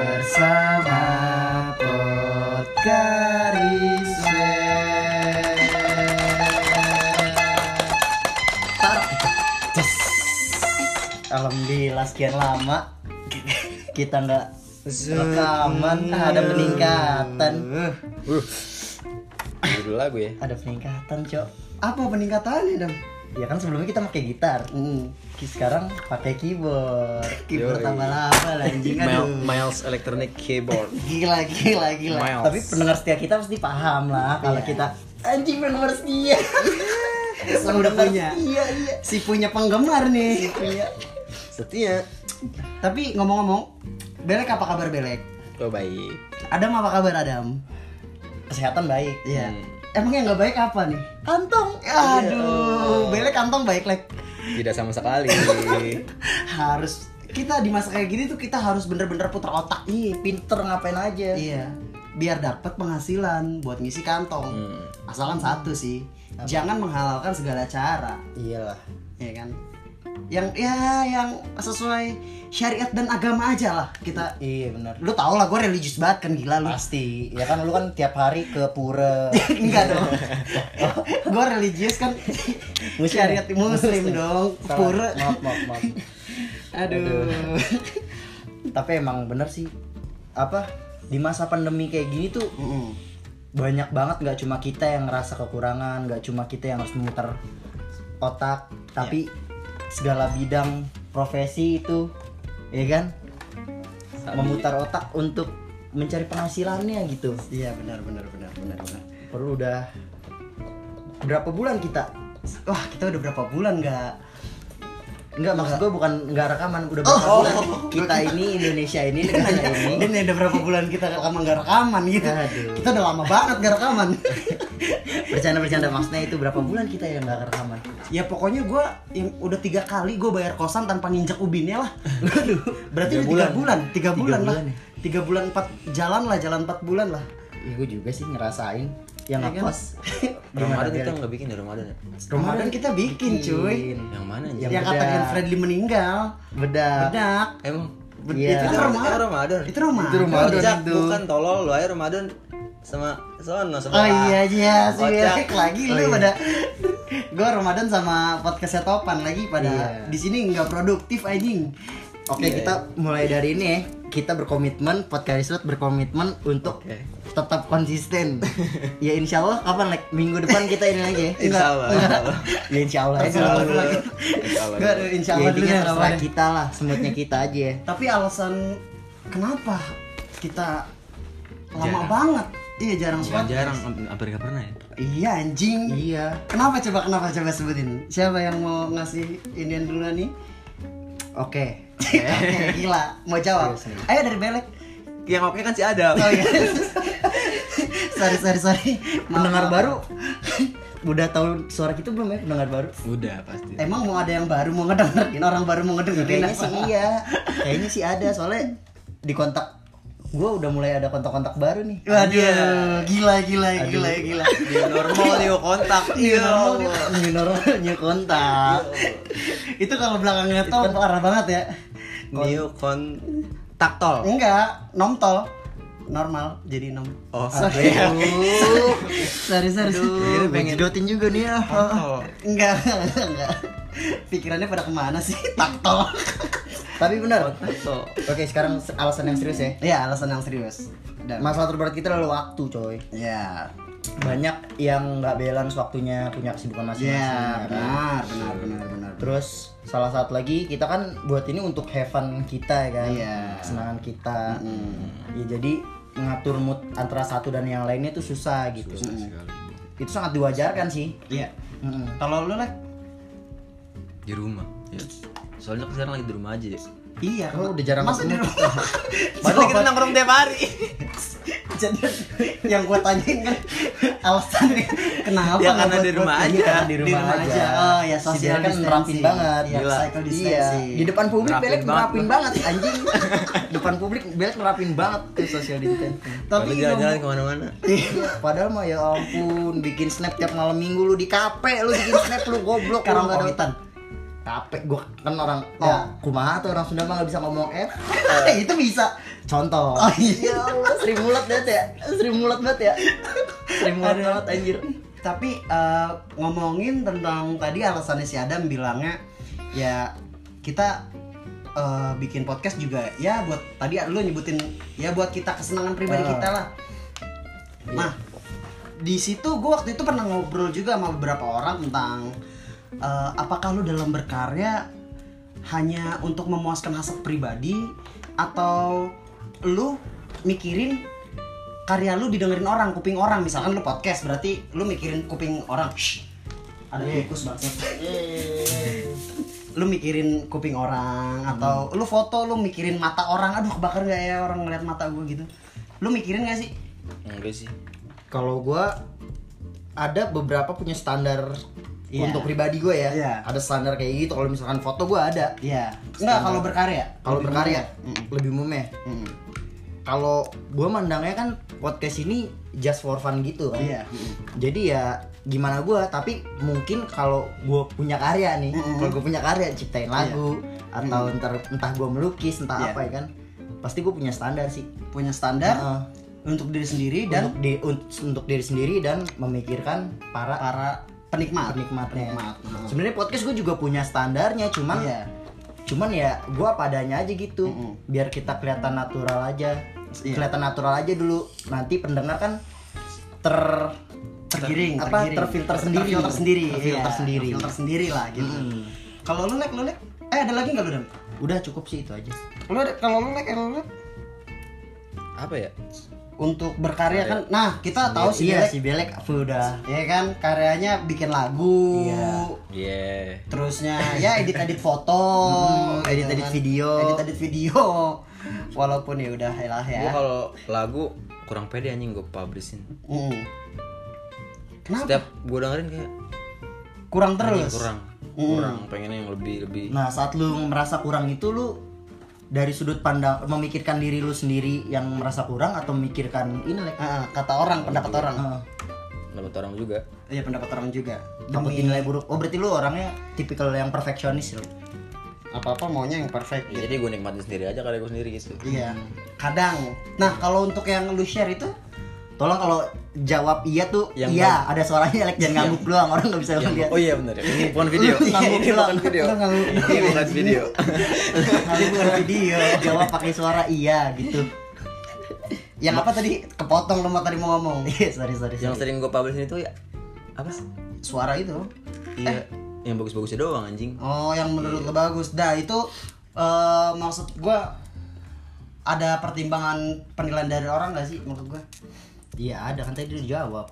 bersama Podcarise. Yes. Alhamdulillah sekian lama kita nggak rekaman ada peningkatan Dulu lagu ya. ada peningkatan cok Apa peningkatannya, Dam? ya kan sebelumnya kita pakai gitar Ki- sekarang pakai keyboard Yoi. keyboard tambah lama lah anjing Mil- aduh Miles Electronic Keyboard. gila gila gila Iya. Miles. tapi pendengar setia kita pasti paham lah kalau kita anjing pendengar setia pendengar Semuanya. setia iya Si punya penggemar nih. Iya. Setia. Tapi ngomong-ngomong, Belek apa kabar Belek? Oh baik. Adam apa kabar Adam? kesehatan baik Iya. Emang yang nggak baik apa nih? kantong Aduh, Belek kantong baik lek. Tidak sama sekali. Harus kita di masa kayak gini tuh kita harus bener-bener putar otak. Ih, pinter ngapain aja Iya. Biar dapat penghasilan buat ngisi kantong. Hmm. Asalkan satu sih, jangan menghalalkan segala cara, iyalah ya kan? Yang ya yang sesuai syariat dan agama aja lah kita. iya benar Lu tau lah gue religius banget kan gila lu. pasti ya kan lu kan tiap hari ke pura Enggak dong. gue religius kan Muslim. syariat muslim dong. Salah. Pura. maaf maaf maaf Aduh. tapi emang bener sih apa di masa pandemi kayak gini tuh Mm-mm. banyak banget nggak cuma kita yang ngerasa kekurangan nggak cuma kita yang harus memutar otak Iya. tapi segala bidang profesi itu ya kan Sabi. memutar otak untuk mencari penghasilannya gitu Iya benar benar benar benar benar. perlu udah berapa bulan kita Wah kita udah berapa bulan nggak? Enggak, maksud gue bukan enggak rekaman, udah Oh. berapa bulan kita ini Indonesia ini Iya, negara ini. Dan ya udah berapa bulan kita lama nggak rekaman gitu. Aduh. Kita udah lama banget nggak rekaman. Bercanda-bercanda maksudnya itu berapa bulan kita yang enggak rekaman? ya pokoknya gue udah tiga kali gue bayar kosan tanpa ninjak ubinnya lah. Berarti udah tiga Tiga bulan. bulan, tiga Tiga bulan lah. bulan ya. Tiga bulan empat jalan lah, jalan empat bulan lah. Ya, gue juga sih ngerasain yang Ya kan? ngekos. Ramadan Gimana, kita Bel? nggak bikin ya Ramadan ya? Ramadan kita bikin cuy. Yang mana Yang, Yang anjing? bedak. kata Glenn Fredly meninggal. Bedak. Bedak. Emang Bed- Iya. Itu Ramadan. Itu kan Ramadan. Itu Ramadan. Itu Ramadan. Kocak itu. bukan tolol lu aja Ramadan sama sono sebelah. Oh iya iya sih Kocak. Bek. lagi Oh, lu iya. pada gue Ramadan sama podcast Topan lagi pada Iya. di sini nggak produktif anjing. Oke, Iya, kita mulai dari ini ya. Kita berkomitmen, podcast Iswat berkomitmen untuk Oke. tetap konsisten. ya insya Allah kapan like minggu depan kita ini lagi ya. Insya Allah. ya insya Allah. Insya Allah. Insya Allah. Gue insya Ya, Allah dulu intinya ya terserah Ramadan. kita lah, semutnya kita aja ya. Tapi alasan kenapa kita lama Jarang. banget? Iya jarang Bukan banget. jarang, hampir nggak pernah ya. Iya anjing. Iya. Kenapa coba kenapa coba sebutin? Siapa yang mau ngasih inian dulu nih? Oke. Oke, gila, mau jawab. Serius, serius. Ayo dari belek. Yang oke kan si Adam. Oh iya. sorry sorry sorry. Maaf, Pendengar maaf. baru udah tahu suara kita belum ya pendengar baru? Udah pasti. Emang mau ada yang baru mau ngedengerin orang baru mau ngedengerin Kayaknya sih iya. Kayaknya sih ada soalnya di kontak gua udah mulai ada kontak-kontak baru nih. Waduh, gila gila Aduh. gila gila. Dia normal dia kontak. Iya, normal Allah. dia. New normal, new kontak. Itu kalau belakangnya tol parah banget ya. New kon Oh. taktol. Enggak, nom tol. Normal jadi nom. Oh, sorry. Aduh. sorry sorry. Aduh, pengen jedotin juga nih ya. Taktol. Enggak, enggak. Pikirannya pada kemana sih? Tak tol. Tapi benar. Taktol. Oke, sekarang se- alasan yang serius ya. Oh, Iya, alasan yang serius. Dan Masalah terberat kita adalah waktu, coy. ya. Banyak yang nggak balance waktunya, punya kesibukan masing-masing. Ya, ya benar, kan? benar, benar, benar. Terus salah satu lagi kita kan buat ini untuk heaven kita ya kan, Iya. kesenangan kita. Ya, jadi mengatur mood antara satu dan yang lainnya itu susah gitu. Itu sangat diwajarkan sih. Iya. Mm-mm. Kalau lu lek Di rumah. Ya. Soalnya sekarang lagi di rumah aja deh. Iya, Lu udah jarang Masa di ketemu rumah? Padahal kita nongkrong tiap hari. Jadi yang gua tanyain kan alasannya kenapa? Ya, karena nggak di buat- rumah buat- aja. iya, karena Di rumah aja. Oh ya, Si sosial Dylan kan nerapin banget. Iya, Gila. cycle distancing. Iya. Di depan publik Nerapin belek banget nerapin banget anjing. depan publik belek nerapin banget tuh social distancing. Tapi Tapi ngomong- jalan-jalan kemana-mana. Padahal mah ya ampun, bikin snap tiap malam minggu lu di kafe, lu bikin snap lu goblok Karang lu nggak ada komitan. Kape, gua kan orang Oh. oh. kumaha tuh orang Sunda mah nggak bisa ngomong F. Eh, itu bisa. contoh Oh, iya. Ya Allah, sering mulat banget ya sering mulat banget ya sering mulat Ada. banget anjir Tapi eh, ngomongin tentang tadi alasannya si Adam bilangnya ya kita eh, bikin podcast juga ya buat tadi lu nyebutin ya buat kita kesenangan pribadi Ah. kita lah. Iya. Nah, di situ gue waktu itu pernah ngobrol juga sama beberapa orang tentang eh, apakah lu dalam berkarya hanya untuk memuaskan hasrat pribadi atau lu mikirin karya lu didengerin orang kuping orang misalkan lu podcast berarti lu mikirin kuping orang Shh, ada tikus banget lu mikirin kuping orang atau lu foto lu mikirin mata orang aduh kebakar nggak ya orang ngeliat mata gue gitu lu mikirin gak sih Enggak sih. kalau gua ada beberapa punya standar Iya. untuk pribadi gue ya Iya. ada standar kayak gitu kalau misalkan foto gua ada Iya. Enggak kalau berkarya. kalau Lebih berkarya umum. Mm-mm. lebih umumnya Mm-mm. kalau gua mandangnya kan podcast ini just for fun gitu kan Iya. jadi ya gimana gua tapi mungkin kalau gua punya karya nih Mm-mm. kalau gua punya karya ciptain lagu atau ntar entah gua melukis entah Iya. apa ya kan pasti gua punya standar sih Punya standar Heeh. untuk diri sendiri dan untuk, di- un- untuk diri sendiri dan memikirkan para para penikmat. penikmatnya Penikmat. Mm-mm. sebenarnya podcast gue juga punya standarnya cuman Iya. cuman ya gue padanya aja gitu Mm-mm. biar kita kelihatan natural aja Iya. kelihatan natural aja dulu nanti pendengar kan ter Tergiring, apa tergiring. terfilter sendiri Terfilter sendiri. Terfilter iya. sendiri. Terfilter sendiri lah gitu. Mm-mm. Kalau lu nek, lu nek. Eh ada lagi nggak lu dam? udah cukup sih itu aja Lu ada kalau lu nek, eh, lu nek. Apa ya? Untuk berkarya kan, nah kita tahu sih iya Nek. si belek apa udah ya kan karyanya bikin lagu, Iya. Yeah. terusnya ya edit edit foto, Mm, edit-edit video. edit edit video, walaupun ya udah ya lah ya. Gua kalau lagu kurang pede anjing gue publishin. Mm. Kenapa? Setiap gue dengerin kayak kurang anjing terus. kurang. Kurang pengennya yang lebih lebih. nah saat lu merasa kurang itu lu dari sudut pandang memikirkan diri lu sendiri yang merasa kurang atau memikirkan ini Lek? Ah, kata orang, Gitu pendapat orang. Heeh. Dapat orang juga. Iya, pendapat orang juga. takut dinilai buruk oh berarti lu orangnya tipikal yang perfeksionis Lek. Apa-apa maunya yang perfect gitu. Ya, Iya. jadi gue nikmatin sendiri aja karya gue sendiri gitu. Iya. Kadang. Nah, kalau untuk yang lu share itu Tolong kalau jawab iya tuh Yang iya ada suaranya Lek jangan Iya. ngangguk doang orang nggak bisa lihat. Oh iya benar. Ini bukan video. Iya, Ini iya. bukan video. Lu ngangguk. Ini bukan video. iya. Nanti bukan video jawab pakai suara iya gitu. yang apa tadi kepotong lu mau tadi mau ngomong. Iya sorry sorry. Yang sorry. sering gue publishin itu ya apa sih? Suara itu. Eh. Iya. Yang bagus-bagusnya doang anjing. Oh, Iya. yang menurut lu bagus. Dah, itu eh, maksud gua ada pertimbangan penilaian dari orang gak sih menurut gua? Iya ada kan tadi udah jawab.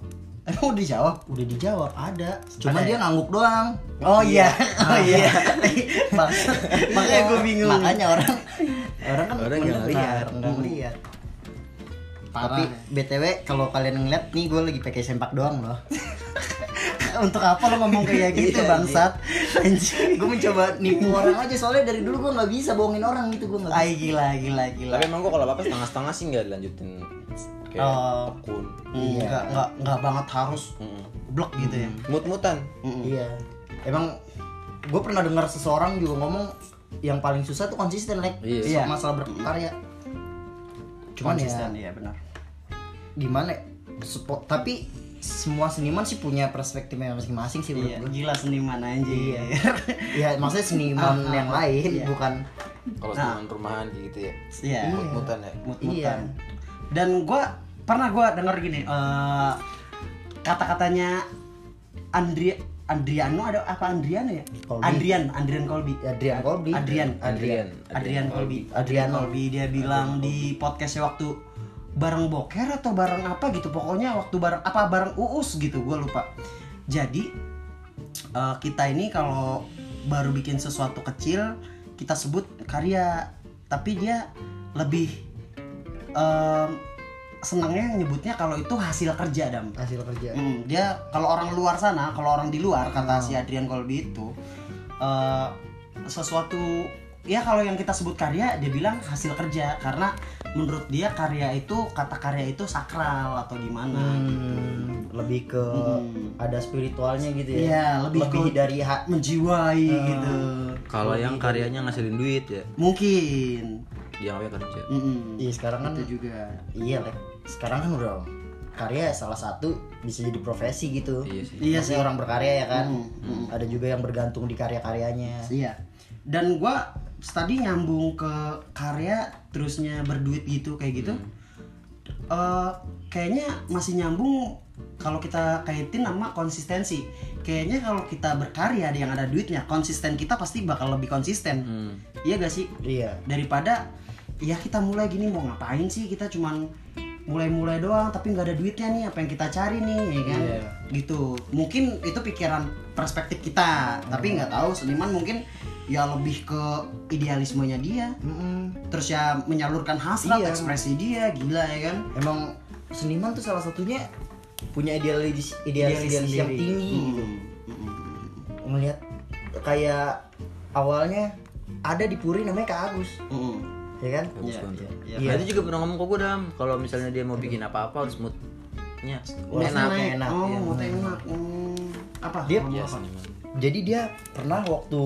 Emang udah dijawab? Udah dijawab ada. Cuma Ada dia ya? ngangguk doang. Oh iya, oh iya. Maksud- Makanya gue bingung. Oh, Makanya orang orang kan Orang nggak mendengar, lihat. nggak ngeliat. Tapi Parah. btw kalau kalian ngeliat nih gue lagi pakai sempak doang loh. Untuk apa lo ngomong kayak gitu Iya, bangsat? Anjing. gue mencoba nipu orang aja soalnya dari dulu gue nggak bisa bohongin orang gitu gue nggak. bisa. Ay gila gila gila. Tapi emang gue kalau apa setengah-setengah sih nggak dilanjutin kayak Oh. tekun. Iya. Enggak enggak enggak banget harus blok gitu ya. Mut-mutan. Iya. Emang gue pernah dengar seseorang juga ngomong yang paling susah tuh konsisten like Iya. so- masalah berkarya. Cuman Konsisten, ya iya benar. gimana? ya, Support, tapi semua seniman sih punya perspektifnya masing-masing sih menurut Iya, gua. gila seniman anjing. Ya maksudnya seniman Ah, ah, yang lain iya. bukan Kalau setengah rumahan kayak gitu ya. Iya. Mut-mutan ya. Mut-mutan. Iya. Dan gua pernah gua denger gini, eh kata-katanya Andri Andriano ada apa Andriano ya? Colby. Adrian, Adrian Colby. Adrian Colby. Adrian, Adrian. Adrian Colby. Adrian Adriano. Colby dia bilang di podcastnya waktu bareng boker atau bareng apa gitu pokoknya waktu bareng apa bareng uus gitu gue lupa jadi eh, kita ini kalau baru bikin sesuatu kecil kita sebut karya tapi dia lebih em, senangnya nyebutnya kalau itu hasil kerja dam hasil kerja. Hmm, dia kalau orang luar sana, kalau orang di luar kata si Adrian Colby itu eh, sesuatu ya kalau yang kita sebut karya dia bilang hasil kerja karena menurut dia karya itu kata karya itu sakral atau gimana. Hmm, lebih ke Hmm. ada spiritualnya gitu ya. Iya, lebih lebih, ke- dari hak Menjiwai gitu. Kalau yang karyanya ngasilin duit ya. Mungkin dianggapnya kerja Mm-mm. Iya sekarang kan itu juga iya Lek. sekarang kan udah karya salah satu bisa jadi profesi gitu. iya sih Iya Iya sih. sih orang berkarya ya kan. Mm, mm. Ada juga yang bergantung di karya-karyanya. Iya. Dan gua tadi nyambung ke karya terusnya berduit gitu kayak gitu. Eh, kayaknya masih nyambung kalau kita kaitin sama konsistensi. Kayaknya kalau kita berkarya ada yang ada duitnya, konsisten kita pasti bakal lebih konsisten. Hmm. Iya gak sih? Iya. Daripada ya kita mulai gini mau ngapain sih kita cuman mulai-mulai doang tapi nggak ada duitnya nih apa yang kita cari nih ya kan Iya. gitu mungkin itu pikiran perspektif kita Hmm. tapi nggak tahu seniman mungkin ya lebih ke idealismenya dia Mm-mm. terus ya menyalurkan hasrat Iya. ekspresi dia gila ya kan Emang seniman tuh salah satunya punya idealis Idealis idealis, idealis yang sendiri. tinggi gitu. Mm, mm, mm, mm. Melihat kayak awalnya ada di Puri namanya Kak Agus, Mm, ya kan? bagus Iya, banget iya, iya. Nah, itu juga pernah ngomong ke gue dam kalau misalnya dia mau bikin apa-apa harus moodnya Moodnya Moodnya enak naik. enak enak, oh iya. moodnya enak Mm, apa Dia- Ngomong ya apa? seniman Jadi dia pernah waktu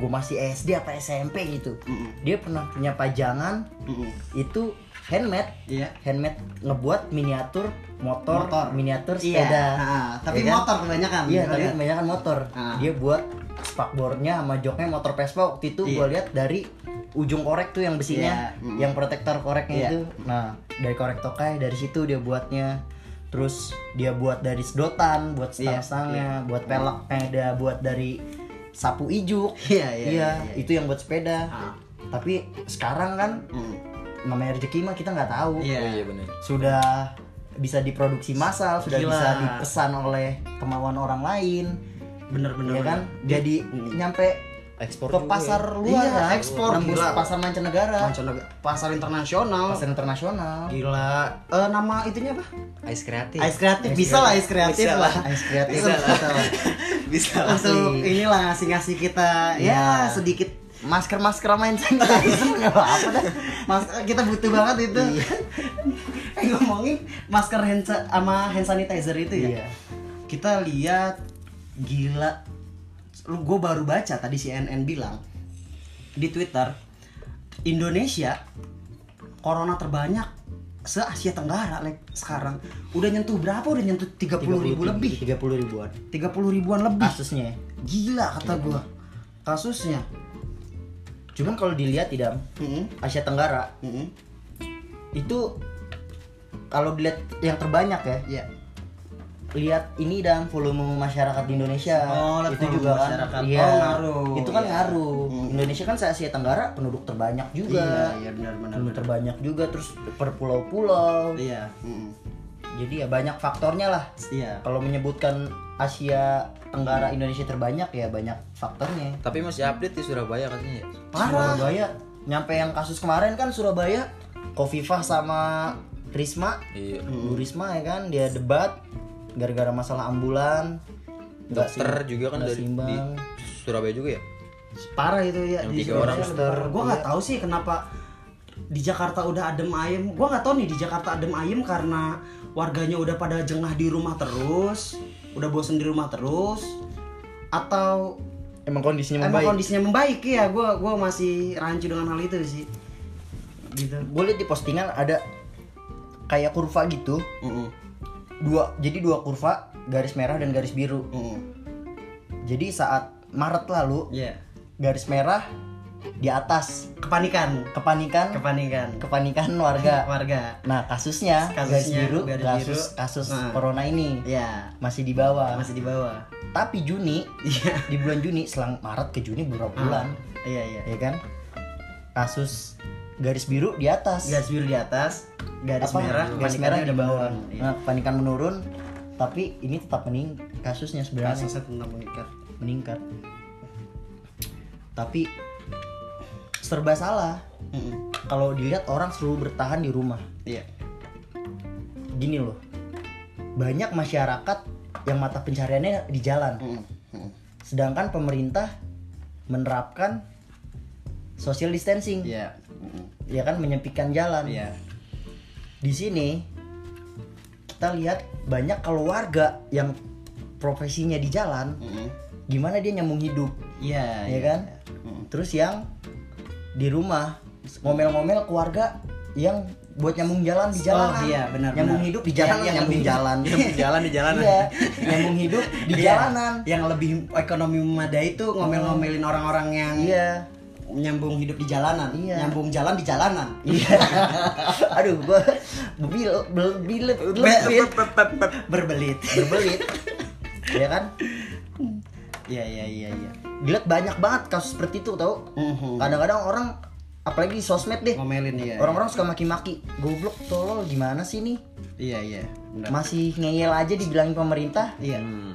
gue masih SD apa SMP gitu, Mm, dia pernah punya pajangan mm, mm. itu handmade, iya handmade ngebuat miniatur motor, Motor. miniatur Iya, sepeda. ha, tapi Ya kan? motor kebanyakan Iya, gitu tapi ya. kebanyakan motor. Ah. Dia buat spakbornya sama joknya motor Vespa waktu itu Iya. gua lihat dari ujung korek tuh yang besinya, Iya, mm. yang protektor koreknya Iya. itu. Nah, dari korek tokai dari situ dia buatnya. Terus dia buat dari sedotan, buat Iya, stang-stangnya, buat peleknya, dia buat dari sapu ijuk. Iya, iya, Iya, iya, iya. itu yang buat sepeda. Ah. Tapi sekarang kan Mm. namanya rezeki mah kita nggak tahu. Iya. oh iya benar Sudah bisa diproduksi massal, sudah Gila. bisa dipesan oleh kemauan orang lain bener-bener ya kan bener. jadi Hmm. nyampe ekspor ke juga pasar ya. luar Iya, kan? ekspor, nembus gila. pasar mancanegara Mancanegara- pasar internasional pasar internasional Gila, Eh, nama itunya apa? ice kreatif Ais kreatif, Iya. Ais bisa kreatif. lah ais kreatif Bisa lah. Ais kreatif Bisa lah. bisa lah. bisa lah. Untuk Asli. inilah ngasih-ngasih kita ya, Iya. sedikit masker masker main sanitizer nggak apa apa dah mas eh, kita butuh banget itu. Iya. Eh, ngomongin masker hand sa- sama hand sanitizer itu ya. Iya. Kita lihat gila lu gue baru baca tadi CNN bilang di Twitter Indonesia corona terbanyak se Asia Tenggara like sekarang udah nyentuh berapa udah nyentuh 30 ribu lebih tiga puluh ribuan 30 ribuan lebih kasusnya gila kata Iya, gua kasusnya cuman kalau dilihat tidak Mm-mm, Asia Tenggara mm-mm, itu kalau dilihat yang terbanyak ya iya. lihat ini dan volume masyarakat di Indonesia Oh, lihat itu volume juga kan masyarakat. iya Oh, ngaruh. itu kan Iya. ngaruh Hmm. Indonesia kan se Asia Tenggara penduduk terbanyak juga iya iya benar benar penduduk benar. terbanyak juga terus per pulau-pulau iya mm-mm, jadi ya banyak faktornya lah iya kalau menyebutkan Asia Hmm. Tenggara Indonesia terbanyak ya banyak faktornya tapi masih update di Surabaya katanya ya Parah. Surabaya nyampe yang kasus kemarin kan Surabaya Kofifah sama Risma iya Bu Risma ya kan dia debat gara-gara masalah ambulan nggak dokter sim- juga kan nggak dari di simbang Surabaya juga ya parah itu ya Yang di tiga orang Surabaya. gua nggak tahu sih kenapa di Jakarta udah adem ayem gua nggak tahu nih di Jakarta adem ayem karena warganya udah pada jengah di rumah terus udah bosen di rumah terus atau emang emang kondisinya membaik kondisinya membaik ya gua gua masih rancu dengan hal itu sih gitu gue liat di postingan ada kayak kurva gitu Mm-mm, dua jadi dua kurva garis merah dan garis biru mm-mm. jadi saat Maret lalu Iya. garis merah di atas kepanikan kepanikan kepanikan kepanikan warga warga nah kasusnya, garis Kasusnya, biru garis kasus biru. kasus Nah. corona ini ya masih di bawah masih di bawah tapi Juni iya di bulan Juni selang Maret ke Juni beberapa bulan iya iya ya kan kasus garis biru di atas garis biru di atas garis Apa? merah garis kepanikannya merah di udah bawah menurun. Iya. nah, kepanikan menurun tapi ini tetap mening kasusnya sebenarnya kasusnya tentang mengikat meningkat tapi serba salah kalau dilihat orang selalu bertahan di rumah iya gini loh banyak masyarakat yang mata pencariannya di jalan sedangkan pemerintah menerapkan social distancing iya ya kan menyempitkan jalan iya di sini kita lihat banyak kalau warga yang profesinya di jalan gimana dia nyambung hidup iya ya kan terus yang kan? di rumah ngomel-ngomel keluarga yang buat nyambung jalan di jalan. Oh, iya, benar, Nyambung benar. hidup di jalan, Iya, iya, nyambung lebih- jalan. Nyambung jalan di jalanan. Iya, nyambung hidup di Iya, jalanan. yang lebih ekonomi memadai itu ngomel-ngomelin orang-orang yang Iya. nyambung hidup di jalanan Iya. nyambung jalan di jalanan Iya. Aduh, gua bil bil bil Berbelit. berbelit berbelit. Ya kan? iya iya iya iya Gila banyak banget kasus seperti itu tau. Mhm. Kadang-kadang orang apalagi di sosmed deh. ngomelin ya Orang-orang suka maki-maki. Goblok tolol gimana sih nih? iya iya benar. Masih ngeyel aja dibilangin pemerintah. iya Hmm.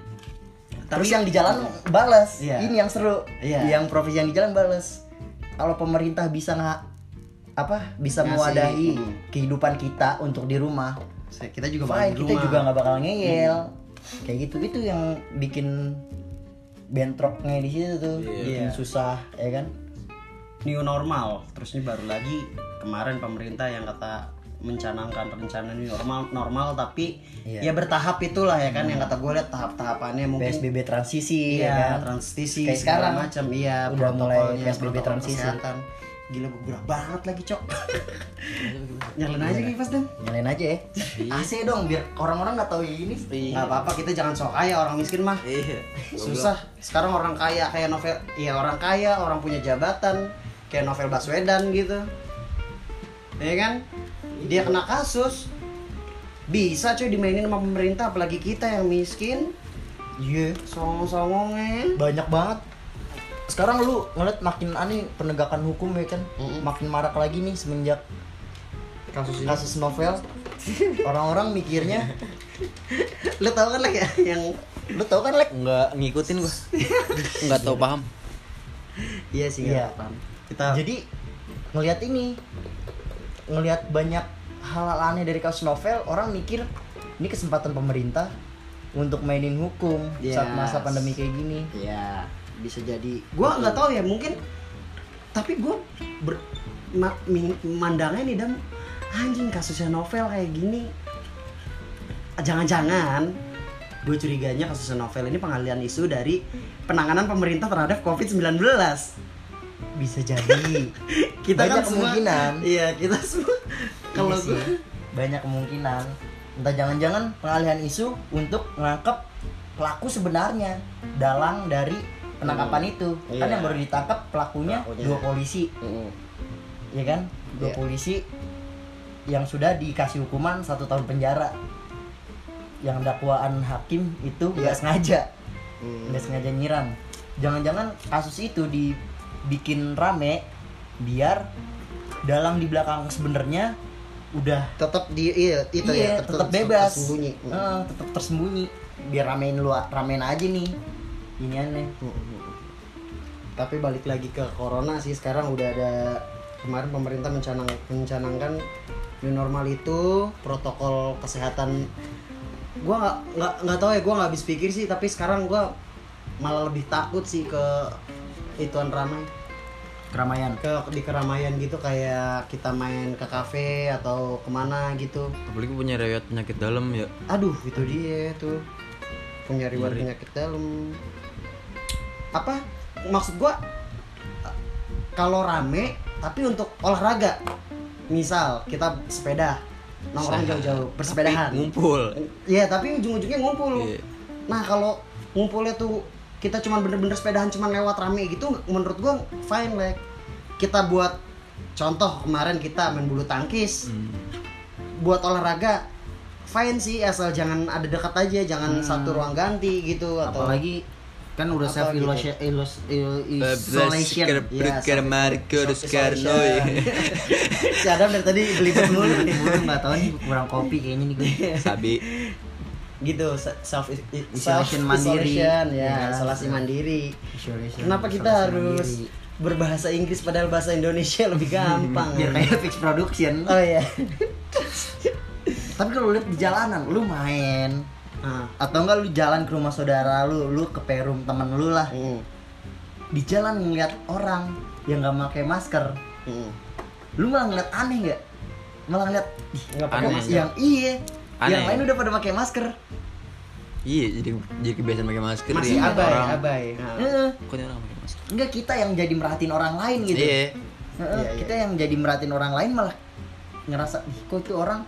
Terus yang di jalan balas. Iya. Ini yang seru. Iya. Yang profesi yang di jalan balas. Kalau pemerintah bisa nggak apa bisa Ngasih, mewadahi mm. kehidupan kita untuk di rumah. Se- kita juga bakal Fine, di kita rumah. Hmm. juga nggak bakal ngeyel. Kayak gitu itu yang bikin bentroknya di situ tuh, Iya. bikin Iya. susah, ya kan? new normal terus ini baru lagi kemarin pemerintah yang kata mencanangkan rencana new normal normal tapi Iya. ya bertahap itulah ya kan yang kata gue lihat tahap-tahapannya mungkin PSBB transisi, Iya, ya kan? transisi segala Kayak sekarang macam. Iya, udah protokolnya, mulai PSBB protokol transisi. kesehatan. Gila gue gerah banget lagi, Cok. Nyalain aja Iya. kipas dan. Nyalain aja ya. Iya. AC dong biar orang-orang nggak tahu ini. Enggak apa-apa, kita jangan sok kaya orang miskin mah. Iya. Susah. Sekarang orang kaya kayak novel, iya orang kaya, orang punya jabatan kayak novel Baswedan gitu. Iya kan? Dia kena kasus. Bisa cuy dimainin sama pemerintah apalagi kita yang miskin. Iya. Songong-songongnya. banyak banget sekarang lu ngeliat makin aneh penegakan hukum ya kan makin marak lagi nih semenjak Kasus kasus novel orang-orang mikirnya Lu tau kan lagi yang lu tau kan lek Enggak ngikutin gua. Enggak tahu paham. Iya sih, nggak Iya. apa-apa. Kita jadi ngelihat ini ngelihat banyak hal-hal aneh dari kasus novel orang mikir ini kesempatan pemerintah untuk mainin hukum saat Yes. masa pandemi kayak gini Iya. ya bisa jadi gua nggak tahu ya mungkin tapi gua ber, ma- min- mandangnya nih dan anjing kasusnya novel kayak gini jangan-jangan gue curiganya kasusnya novel ini pengalian isu dari penanganan pemerintah terhadap COVID-19 bisa jadi kita Banyak kan semua kemungkinan. iya kita semua kalau Iya sih, gue banyak kemungkinan entah jangan-jangan pengalihan isu untuk menangkap pelaku sebenarnya dalang dari penangkapan itu kan Iya. yang baru ditangkap pelakunya, Pelakunya. dua polisi ya kan dua Iya. polisi yang sudah dikasih hukuman satu tahun penjara yang dakwaan hakim itu Iya. nggak sengaja Hmm. nggak sengaja nyiram jangan-jangan kasus itu dibikin rame biar dalang di belakang sebenarnya udah tetap di iya itu iya, ya tetap bebas. Ah. sembunyi Heeh, tetap tersembunyi. Biar ramein lu ramein aja nih. Ini aneh. tapi balik lagi ke corona sih sekarang udah ada kemarin pemerintah mencanang mencanangkan new normal itu protokol kesehatan gua nggak nggak nggak tahu ya gua nggak habis pikir sih tapi sekarang gua malah lebih takut sih ke ituan ramai Keramaian. ke di keramaian gitu kayak kita main ke kafe atau kemana gitu Apalagi punya riwayat penyakit dalam ya. aduh itu dia tuh punya riwayat penyakit dalam apa maksud gua eh, kalau rame tapi untuk olahraga misal kita sepeda nongkrong jauh-jauh Tapi bersepedahan Ngumpul. iya tapi ujung-ujungnya ngumpul Iya. nah kalau ngumpulnya tuh kita cuman bener-bener sepedahan cuman lewat rame gitu menurut gua fine like kita buat contoh kemarin kita main bulu tangkis Hmm. buat olahraga fine sih asal jangan ada dekat aja jangan satu ruang ganti gitu atau Hmm. Apalagi kan udah Apa self gitu? isolation Isolation. eh, isolation. Iya, Marcus self-isolation. Carnoy. si Adam dari tadi belibet mulu nih. Gue nggak tahu nih kurang kopi kayaknya nih gue. Sabi. gitu se- self Isolation mandiri. isolation, Ya. ya isolasi mandiri Isolation, kenapa kita isolasi harus mandiri. berbahasa Inggris padahal bahasa Indonesia lebih gampang biar kayak fix production. Hmm. oh iya Tapi kalau lihat di jalanan lu main nah, atau enggak lu jalan ke rumah saudara lu, lu ke perum temen lu lah. mm, Di jalan ngeliat orang yang nggak pakai masker, mm. lu malah ngeliat aneh nggak malah ngeliat "Ih, nggak pakai Aneh. masker yang iya yang Aneh. lain udah pada pakai masker Iya, jadi jadi kebiasaan pakai masker masih ya. abai Orang- abai Nah. Ah. Heeh. Kok dia orang pakai masker? enggak kita yang jadi merhatiin orang lain gitu Iya. Heeh, Iya, iya, kita yang jadi merhatiin orang lain malah ngerasa ih kok itu orang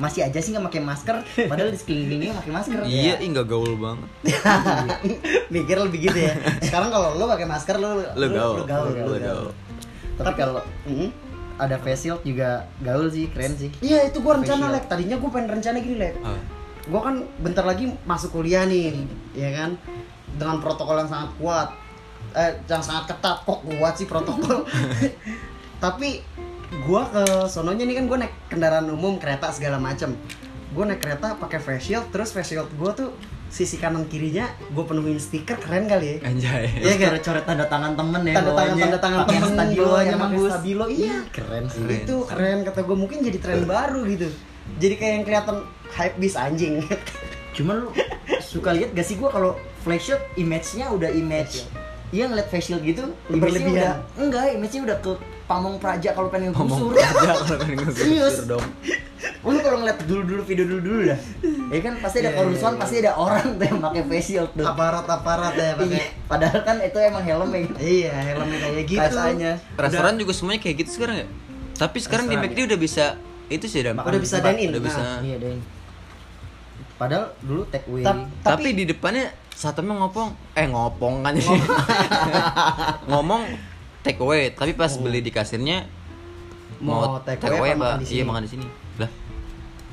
masih aja sih nggak pakai masker padahal di sekelilingnya pakai masker Iya, ih nggak gaul banget. mikir lebih gitu ya sekarang kalau lu pakai masker lu Lu gaul. lu gaul, gaul, Lu gaul. gaul. tapi kalau Mm-mm. ada face shield juga gaul sih keren sih Iya itu gue rencana Facial. lek. Tadinya gue pengen rencana gini lek. Apa? Gue kan bentar lagi masuk kuliah nih, ya kan? Dengan protokol yang sangat kuat, eh, yang sangat ketat kok kuat sih protokol. Tapi gue ke sononya nih kan gue naik kendaraan umum kereta segala macem. Gue naik kereta pakai face shield, terus face shield gue tuh sisi kanan kirinya gue penuhin stiker keren kali ya. Iya, Anjay. Terus kan? coret-coret tanda tangan temen ya Tanda tangan bawahnya. tanda tangan Pakaian temen stabilo bawahnya aja pakai mampus. stabilo iya keren sih Keren. itu keren kata gue mungkin jadi tren baru gitu jadi kayak yang kelihatan hype bis anjing cuman lu suka lihat gak sih gua kalau flash shot image-nya udah image Iya ngeliat facial gitu, image-nya Berlebihan. udah enggak, image-nya udah ke pamong praja kalau pengen Ngomong gusur. aja kalau pengen Serius. ngusur dong. Lu kalau ngeliat dulu-dulu video dulu-dulu dah. Ya kan pasti ada Iya, iya, kerusuhan, iya. pasti ada orang tuh yang pakai facial tuh. aparat aparat ya Iya, pakai Padahal kan itu emang helmnya gitu. iya helmnya kayak gitu Rasanya. Restoran juga semuanya kayak gitu sekarang ya. Tapi sekarang di Restoran, McD udah bisa itu sih udah udah bisa dine in Udah bisa. Nah, Iya, deh. Padahal dulu take away. tap- Tapi, tapi di depannya satemnya ngopong, eh ngopong kan sih. Ngomong take away, tapi pas beli di kasirnya Oh. Mau take away apa makan di Iya sini? makan di sini. Lah.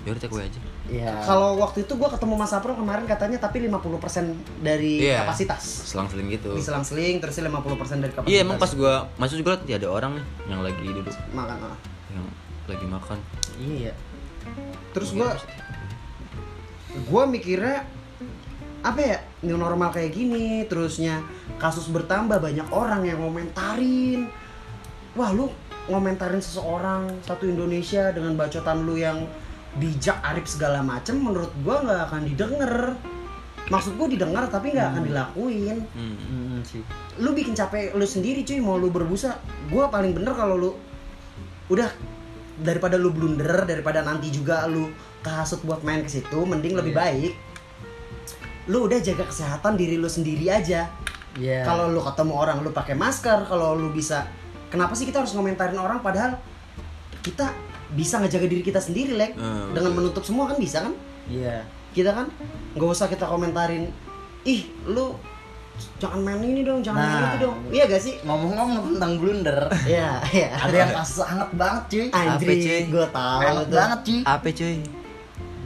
Ya udah take away aja. Iya. kalau waktu itu gue ketemu Mas Apro kemarin katanya tapi 50% dari Iya. kapasitas Selang-seling gitu. diselang-seling terus 50% dari kapasitas Iya emang pas gua masuk juga liat, ya ada orang nih yang lagi duduk makan ah. yang lagi makan. Iya. terus gue gue mikirnya apa ya new normal kayak gini terusnya kasus bertambah banyak orang yang ngomentarin wah lu ngomentarin seseorang satu Indonesia dengan bacotan lu yang bijak arif segala macem menurut gue nggak akan didengar maksud gue didengar tapi nggak akan dilakuin Hmm. Mm, sih. lu bikin capek lu sendiri cuy mau lu berbusa gue paling bener kalau lu udah daripada lu blunder daripada nanti juga lu kehasut buat main ke situ mending lebih Iya. baik lu udah jaga kesehatan diri lu sendiri aja Iya. kalau lu ketemu orang lu pakai masker kalau lu bisa kenapa sih kita harus ngomentarin orang padahal kita bisa ngejaga diri kita sendiri lek Ah, Hmm, dengan menutup semua kan bisa kan iya. kita kan nggak usah kita komentarin ih lu jangan main ini dong jangan main Nah. itu dong iya gak sih Ngomong-ngomong tentang blunder, Iya, iya. ada yang kasus anget banget cuy. Apa, cuy? Anjir, gue tahu Anget tuh. banget cuy. Apa cuy?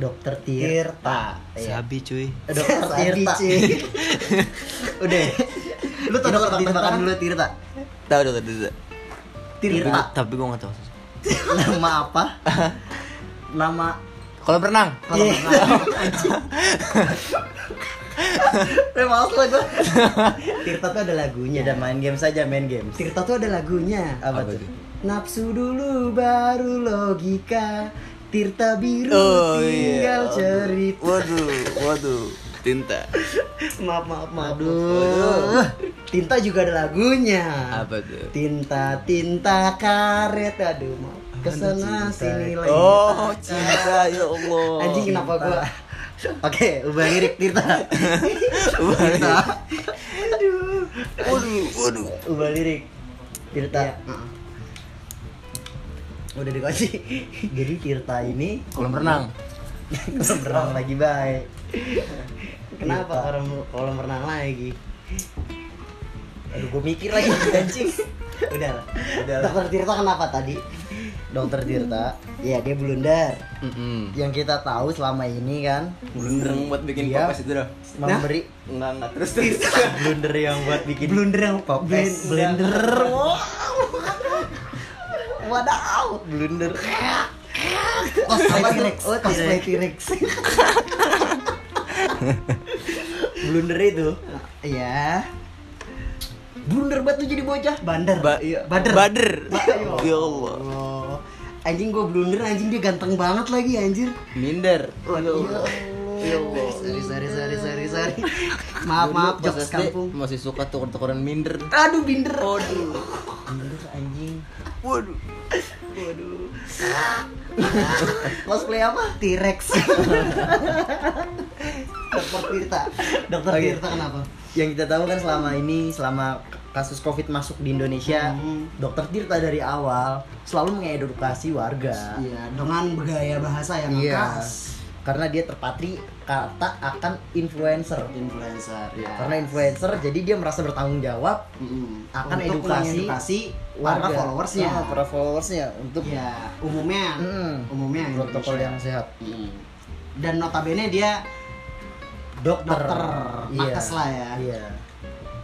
Dokter Tir. Tirta. Iya. Sabi cuy. Dokter Sabi, Tirta. cuy. Udah. Lu tau dokter Tirta tebak kan? dulu Tirta. Tahu tahu tahu. tahu. Tapi Tirta. gua- Tapi gua nggak tahu. Nama apa? Nama Kalau berenang. kalau Iya. Eh males lah gua. Tirta tuh ada lagunya. Ya udah main game saja, main game. Tirta tuh ada lagunya. Apa Apa tuh? tuh? Nafsu dulu baru logika. Tirta biru Oh, tinggal iya. cerita. Oh, iya. Waduh, waduh. Tinta. Maaf, maaf, maaf. Aduh. Tinta juga ada lagunya. Apa tuh? Tinta, tinta karet. Aduh, maaf. Kesana Cinta. sini lagi. Oh, cinta ya Allah. iya. Anjing kenapa gua? Oke, ubah lirik Tirta. Waduh, Aduh. waduh, waduh. Ubah lirik. Iya, Tirta. heeh. Udah dikasih. Jadi Tirta ini Kolam renang. berang lagi baik. Kenapa kolam kolam renang lagi? Aduh, gue mikir lagi anjing. Udah lah. Dokter Tirta kenapa tadi? Dokter Tirta Ya dia blunder. Mm-mm. yang kita tahu selama ini kan blunder buat bikin Iya. podcast itu dah memberi enggak enggak terus terus blunder yang buat bikin Blunder yang blend- Popes. blender. Wow. wadaw blunder Cosplay Apa tuh? T-Rex. Oh, Cosplay T-Rex. T-Rex. blunder itu Ya. blunder batu jadi bocah Bander. Ba- Iya, Bader. Bader. Ya Allah. Oh. Anjing gua blunder, anjing dia ganteng banget lagi anjir. minder Waduh. Ya Allah. Sorry, sorry, sorry, sorry, sorry. Maaf, maaf, Dulu pas jokes SD kampung. masih suka tuker-tukeran minder Aduh, binder. blunder anjing Waduh. Cosplay apa? T-Rex. Dokter Tirta. Dokter Oke. Tirta kenapa? yang kita tahu kan selama ini selama kasus covid masuk di Indonesia Mhm. dokter Tirta dari awal selalu mengedukasi warga Iya, dengan bergaya bahasa yang Iya. khas. karena dia terpatri kata akan influencer Influencer ya. karena influencer jadi dia merasa bertanggung jawab Mm-mm. akan Untuk edukasi mengedukasi para warga followersnya. Ah, para followersnya untuk Iya, umumnya, Mm, umumnya protokol Indonesia. yang sehat Mm. Dan notabene dia dokter, dokter, nakes lah ya. iya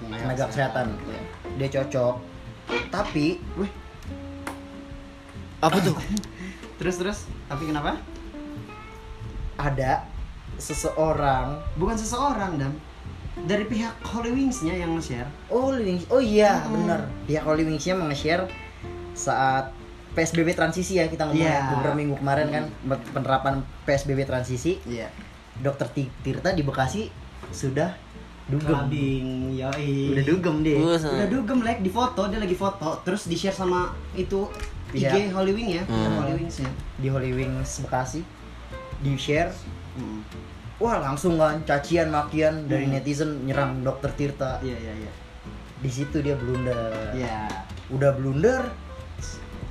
tenaga kesehatan Iya. dia cocok tapi Apa tuh? Terus terus, tapi kenapa? ada seseorang Bukan seseorang dam, dari pihak Holy Wings-nya yang nge-share. oh Holy Wings oh iya Hmm. benar pihak Holy Wings-nya meng-share saat PSBB transisi ya kita ngomongin Iya. Mm. beberapa minggu kemarin kan penerapan PSBB transisi Iya. dokter Ti- Tirta di Bekasi sudah dugem Kelabing, yoi. udah dugem dia Terus, Udah dugem like di foto, dia lagi foto, terus di share sama itu IG Iya. Holy Wing ya, Hmm. Holy Wings ya. di Holy Wings Bekasi di share wah langsung kan cacian makian dari Hmm. netizen nyerang dokter Tirta Iya iya iya. di situ dia blunder Iya. udah blunder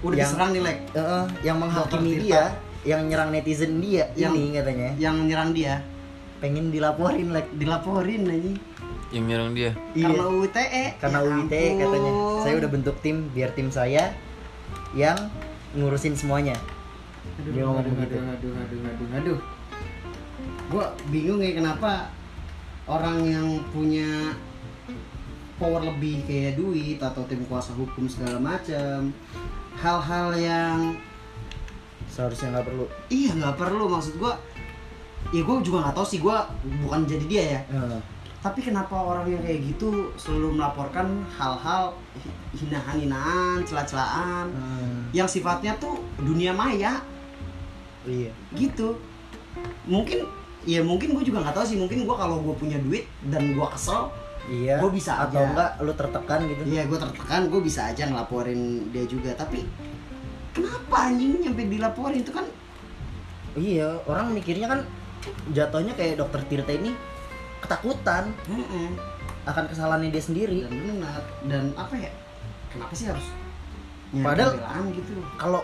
Udah Yang- diserang nih like eh, eh, yang menghakimi Dokter Tirta. dia yang nyerang netizen dia Yang- iya. ini katanya yang nyerang dia, pengen dilaporin like dilaporin aja. Yang nyerang dia. Karena UITE. Iya. karena Ya UIT ampun. E, katanya saya udah bentuk tim biar tim saya yang ngurusin semuanya aduh, Dia ngomong aduh, begitu. aduh, aduh, aduh, aduh, aduh. Gua bingung ya kenapa orang yang punya power lebih kayak duit atau tim kuasa hukum segala macam hal-hal yang seharusnya nggak perlu iya nggak perlu maksud gua ya gua juga nggak tahu sih gua bukan jadi dia ya Eh, tapi kenapa orang yang kayak gitu selalu melaporkan hal-hal hi- hinaan-hinaan celah-celahan eh, yang sifatnya tuh dunia maya iya gitu mungkin ya mungkin gue juga nggak tahu sih mungkin gue kalau gue punya duit dan gue kesel iya Gua bisa atau aja. enggak lu tertekan gitu ya gue tertekan gue bisa aja ngelaporin dia juga tapi kenapa anjing nyampe dilaporin itu kan iya orang mikirnya kan jatuhnya kayak dokter Tirta ini ketakutan heeh, akan kesalahannya dia sendiri dan benar dan apa ya kenapa sih harus nyari Padahal- pembelaan gitu kalau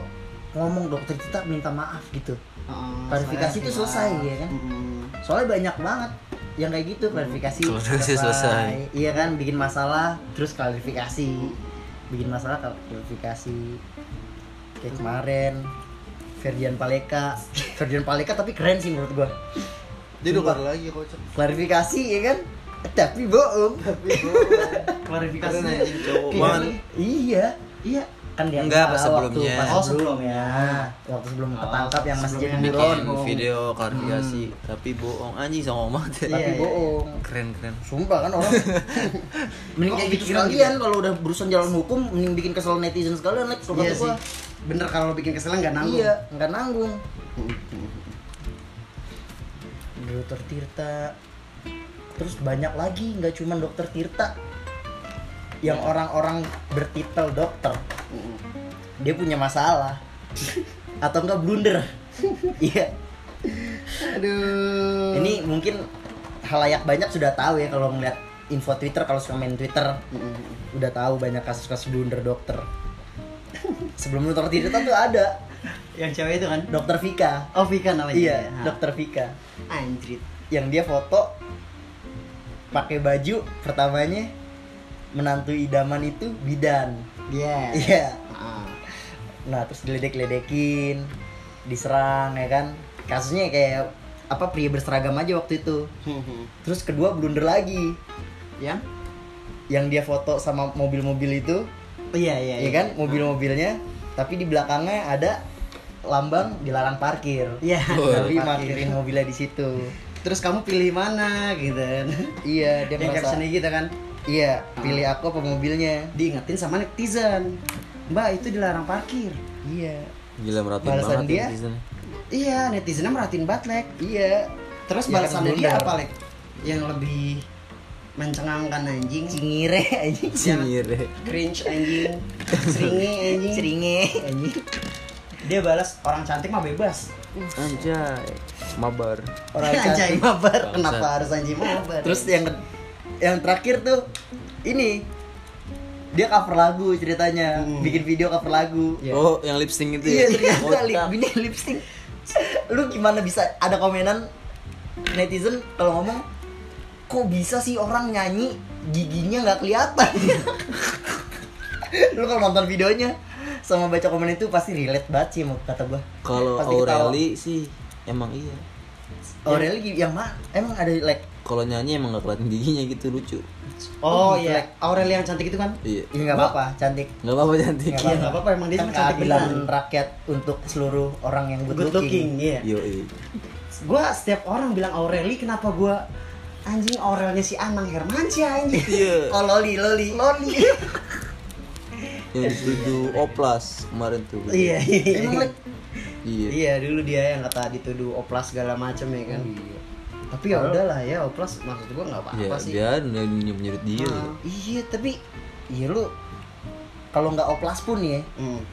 ngomong dokter Tirta minta maaf gitu Heeh, Klarifikasi saya hilaf. tuh selesai, ya kan? Heeh. soalnya banyak banget yang kayak gitu klarifikasi Klarifikasi Hmm. selesai. iya kan bikin masalah terus klarifikasi bikin masalah klarifikasi kayak kemarin Ferdian Paleka Ferdian Paleka tapi keren sih menurut gua Dia dokter lagi kocok. klarifikasi ya kan tapi bohong Keren klarifikasinya anjing cowok Iya. banget. iya iya kan dia Enggak, pas masalah sebelumnya. waktu, pas Oh, sebelumnya waktu sebelum Oh, ketangkap yang masih jadi sebelumnya. buron Bikin video klarifikasi, tapi bohong anjing songong banget. ya. tapi Iya, iya. bohong Keren keren. Sumpah kan orang Mending Kok kayak gitu pikiran sekalian kalau udah berurusan jalan hukum Mending bikin kesel netizen sekalian Lex kalau iya kata sih gua bener kalau bikin kesel nggak nanggung Iya, nggak nanggung Dokter Tirta Terus banyak lagi, nggak cuma dokter Tirta Yang orang-orang bertitel dokter Heeh. Dia punya masalah Atau enggak blunder Iya aduh Ini mungkin halayak banyak sudah tahu ya kalau ngeliat info Twitter kalau suka main Twitter Heeh. udah tahu banyak kasus-kasus blunder dokter. Sebelum dokter Tirta tuh ada yang cewek itu kan dokter Vika. oh Vika namanya Iya, Ha. dokter Vika. anjrit Yang dia foto pakai baju pertamanya menantu idaman itu bidan. yes Iya. Ah. Nah, terus diledek-ledekin, diserang ya kan. Kasusnya kayak apa pria berseragam aja waktu itu. Terus kedua blunder lagi yang yang dia foto sama mobil-mobil itu iya iya Iya kan mobil-mobilnya tapi di belakangnya ada lambang dilarang parkir. iya Tapi Parkir. parkirin mobilnya di situ. terus kamu pilih mana gitu kan Iya, dia yang merasa captionnya gitu kan iya, pilih aku apa mobilnya. diingetin sama netizen mbak itu dilarang parkir Iya. Gila merhatiin Balasan banget dia? netizen. iya netizennya merhatiin batlek Iya. terus Ya, balasannya kan dia blunder. apa lek yang lebih mencengangkan anjing Cingire anjing. Cingire. cringe anjing seringi anjing Ceringe anjing. dia balas orang cantik mah bebas Anjay. Mabar. Orang anjing cantik. mabar Bangsat. kenapa harus anjing mabar Terus yang yang terakhir tuh ini dia cover lagu ceritanya Hmm. bikin video cover lagu Iya. Oh, yang lip sync itu iya ya. ternyata Otak. lip bini lip sync lu gimana bisa ada komenan netizen kalau ngomong kok bisa sih orang nyanyi giginya nggak kelihatan lu kalau nonton videonya sama baca komen itu pasti relate banget sih sama kata gua Kalau Pasti ketawa. Aureli sih emang iya. Aureli gi- yang mah emang ada lag Kalau nyanyi emang gak kelihatan giginya gitu lucu. Oh iya, Aurel yang cantik itu kan? Iya. ya nggak apa-apa cantik Gak apa-apa cantik. Nggak Iya, nggak apa-apa emang dia kan cuma cantik keadilan beneran. rakyat untuk seluruh orang yang good, Good looking, iya. Yo, Gua setiap orang bilang Aureli, kenapa gua anjing Aurelnya si Anang Hermansyah anjing. Iya. oh loli loli Iya, loli Yang dituju Oplas kemarin tuh. Iya, iya. Emang lag? Iya. Iya, dulu dia yang kata dituduh oplas segala macem ya kan. Tapi ya udahlah ya, oplas maksud gua nggak Iya, apa-apa sih. dia nyuruh nyurut dia. Ah. Iya tapi Iya lu kalau nggak oplas pun ya Hmm.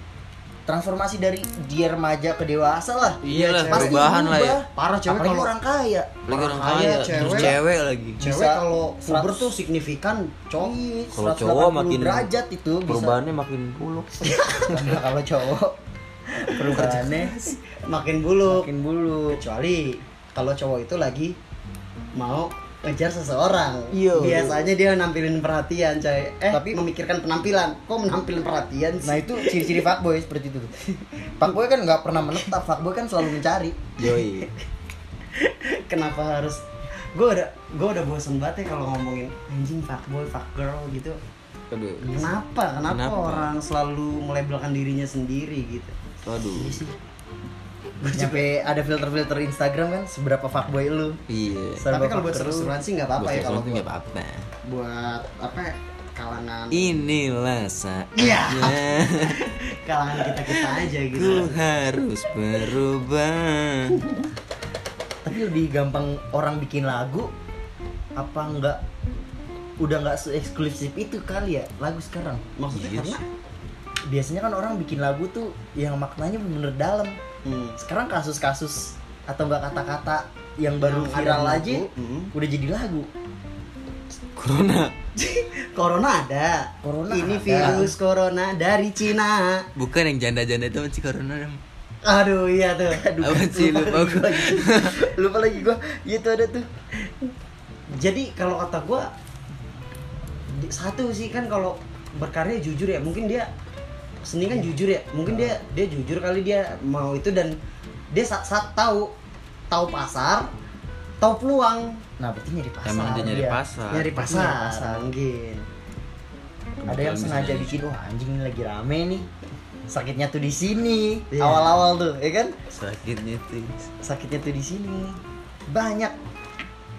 transformasi dari dia remaja ke dewasa lah. Iya lah, Pasti perubahan lah ya. berubah. Parah cewek Apalagi kalau orang kaya. Lagi orang Orang kaya, kaya, terus cewek. cewek lagi. cewek bisa kalau puber 100. tuh signifikan, cowok. Kalau 180 cowok makin derajat itu bisa. Perubahannya makin buluk. Nah, kalau cowok perubahannya makin buluk. makin bulu. kecuali kalau cowok itu lagi mau ngejar seseorang Iya. biasanya dia nampilin perhatian coy eh Tapi- tapi memikirkan penampilan kok menampilin perhatian sih Nah itu ciri-ciri fuckboy seperti itu. Fuckboy kan nggak pernah menetap, fuckboy kan selalu mencari. Yoi. kenapa harus gue udah gue udah bosen banget ya kalau ngomongin anjing fuckboy fuck girl gitu Aduh. kenapa kenapa, Kenapa? orang selalu melabelkan dirinya sendiri gitu Aduh. Sampai ada filter-filter Instagram kan seberapa fuckboy lu. Iya. tapi Serba kalau buat fuckgirl. seru-seruan sih nggak apa-apa Buat ya kalau sesuatu nggak apa-apa. buat- buat apa ya, kalangan Inilah saatnya Iya. kalangan kita kita aja gitu ku harus berubah. tapi lebih gampang orang bikin lagu apa enggak udah nggak eksklusif itu kali ya lagu sekarang maksudnya Iya karena sih. biasanya kan orang bikin lagu tuh yang maknanya bener-bener dalam Hmm. sekarang kasus-kasus atau enggak kata-kata yang Yang baru ada viral lagu, aja mm-hmm. mm. udah jadi lagu Corona Corona ada. Corona Ini ada. virus corona dari Cina. bukan yang janda-janda itu masih corona Ram. Aduh iya tuh. Aduh. Apa sih lupa lupa lagi gua. gua. lupa lagi gua itu ada tuh Jadi kalau kata gua di- satu sih kan kalau berkarya jujur ya, mungkin dia seni kan jujur ya. Mungkin dia dia jujur kali dia mau itu dan dia saat, saat tahu tahu pasar, tahu peluang nah berarti nyari pasar Emang dia nyari iya. pasar. nyari pasar, Nyari pasar. mungkin. ada yang Kebetulan sengaja misalnya. bikin wah anjing ini lagi rame nih sakitnya tuh di sini Iya. awal-awal tuh ya kan Sakitnya tuh. sakitnya tuh di sini banyak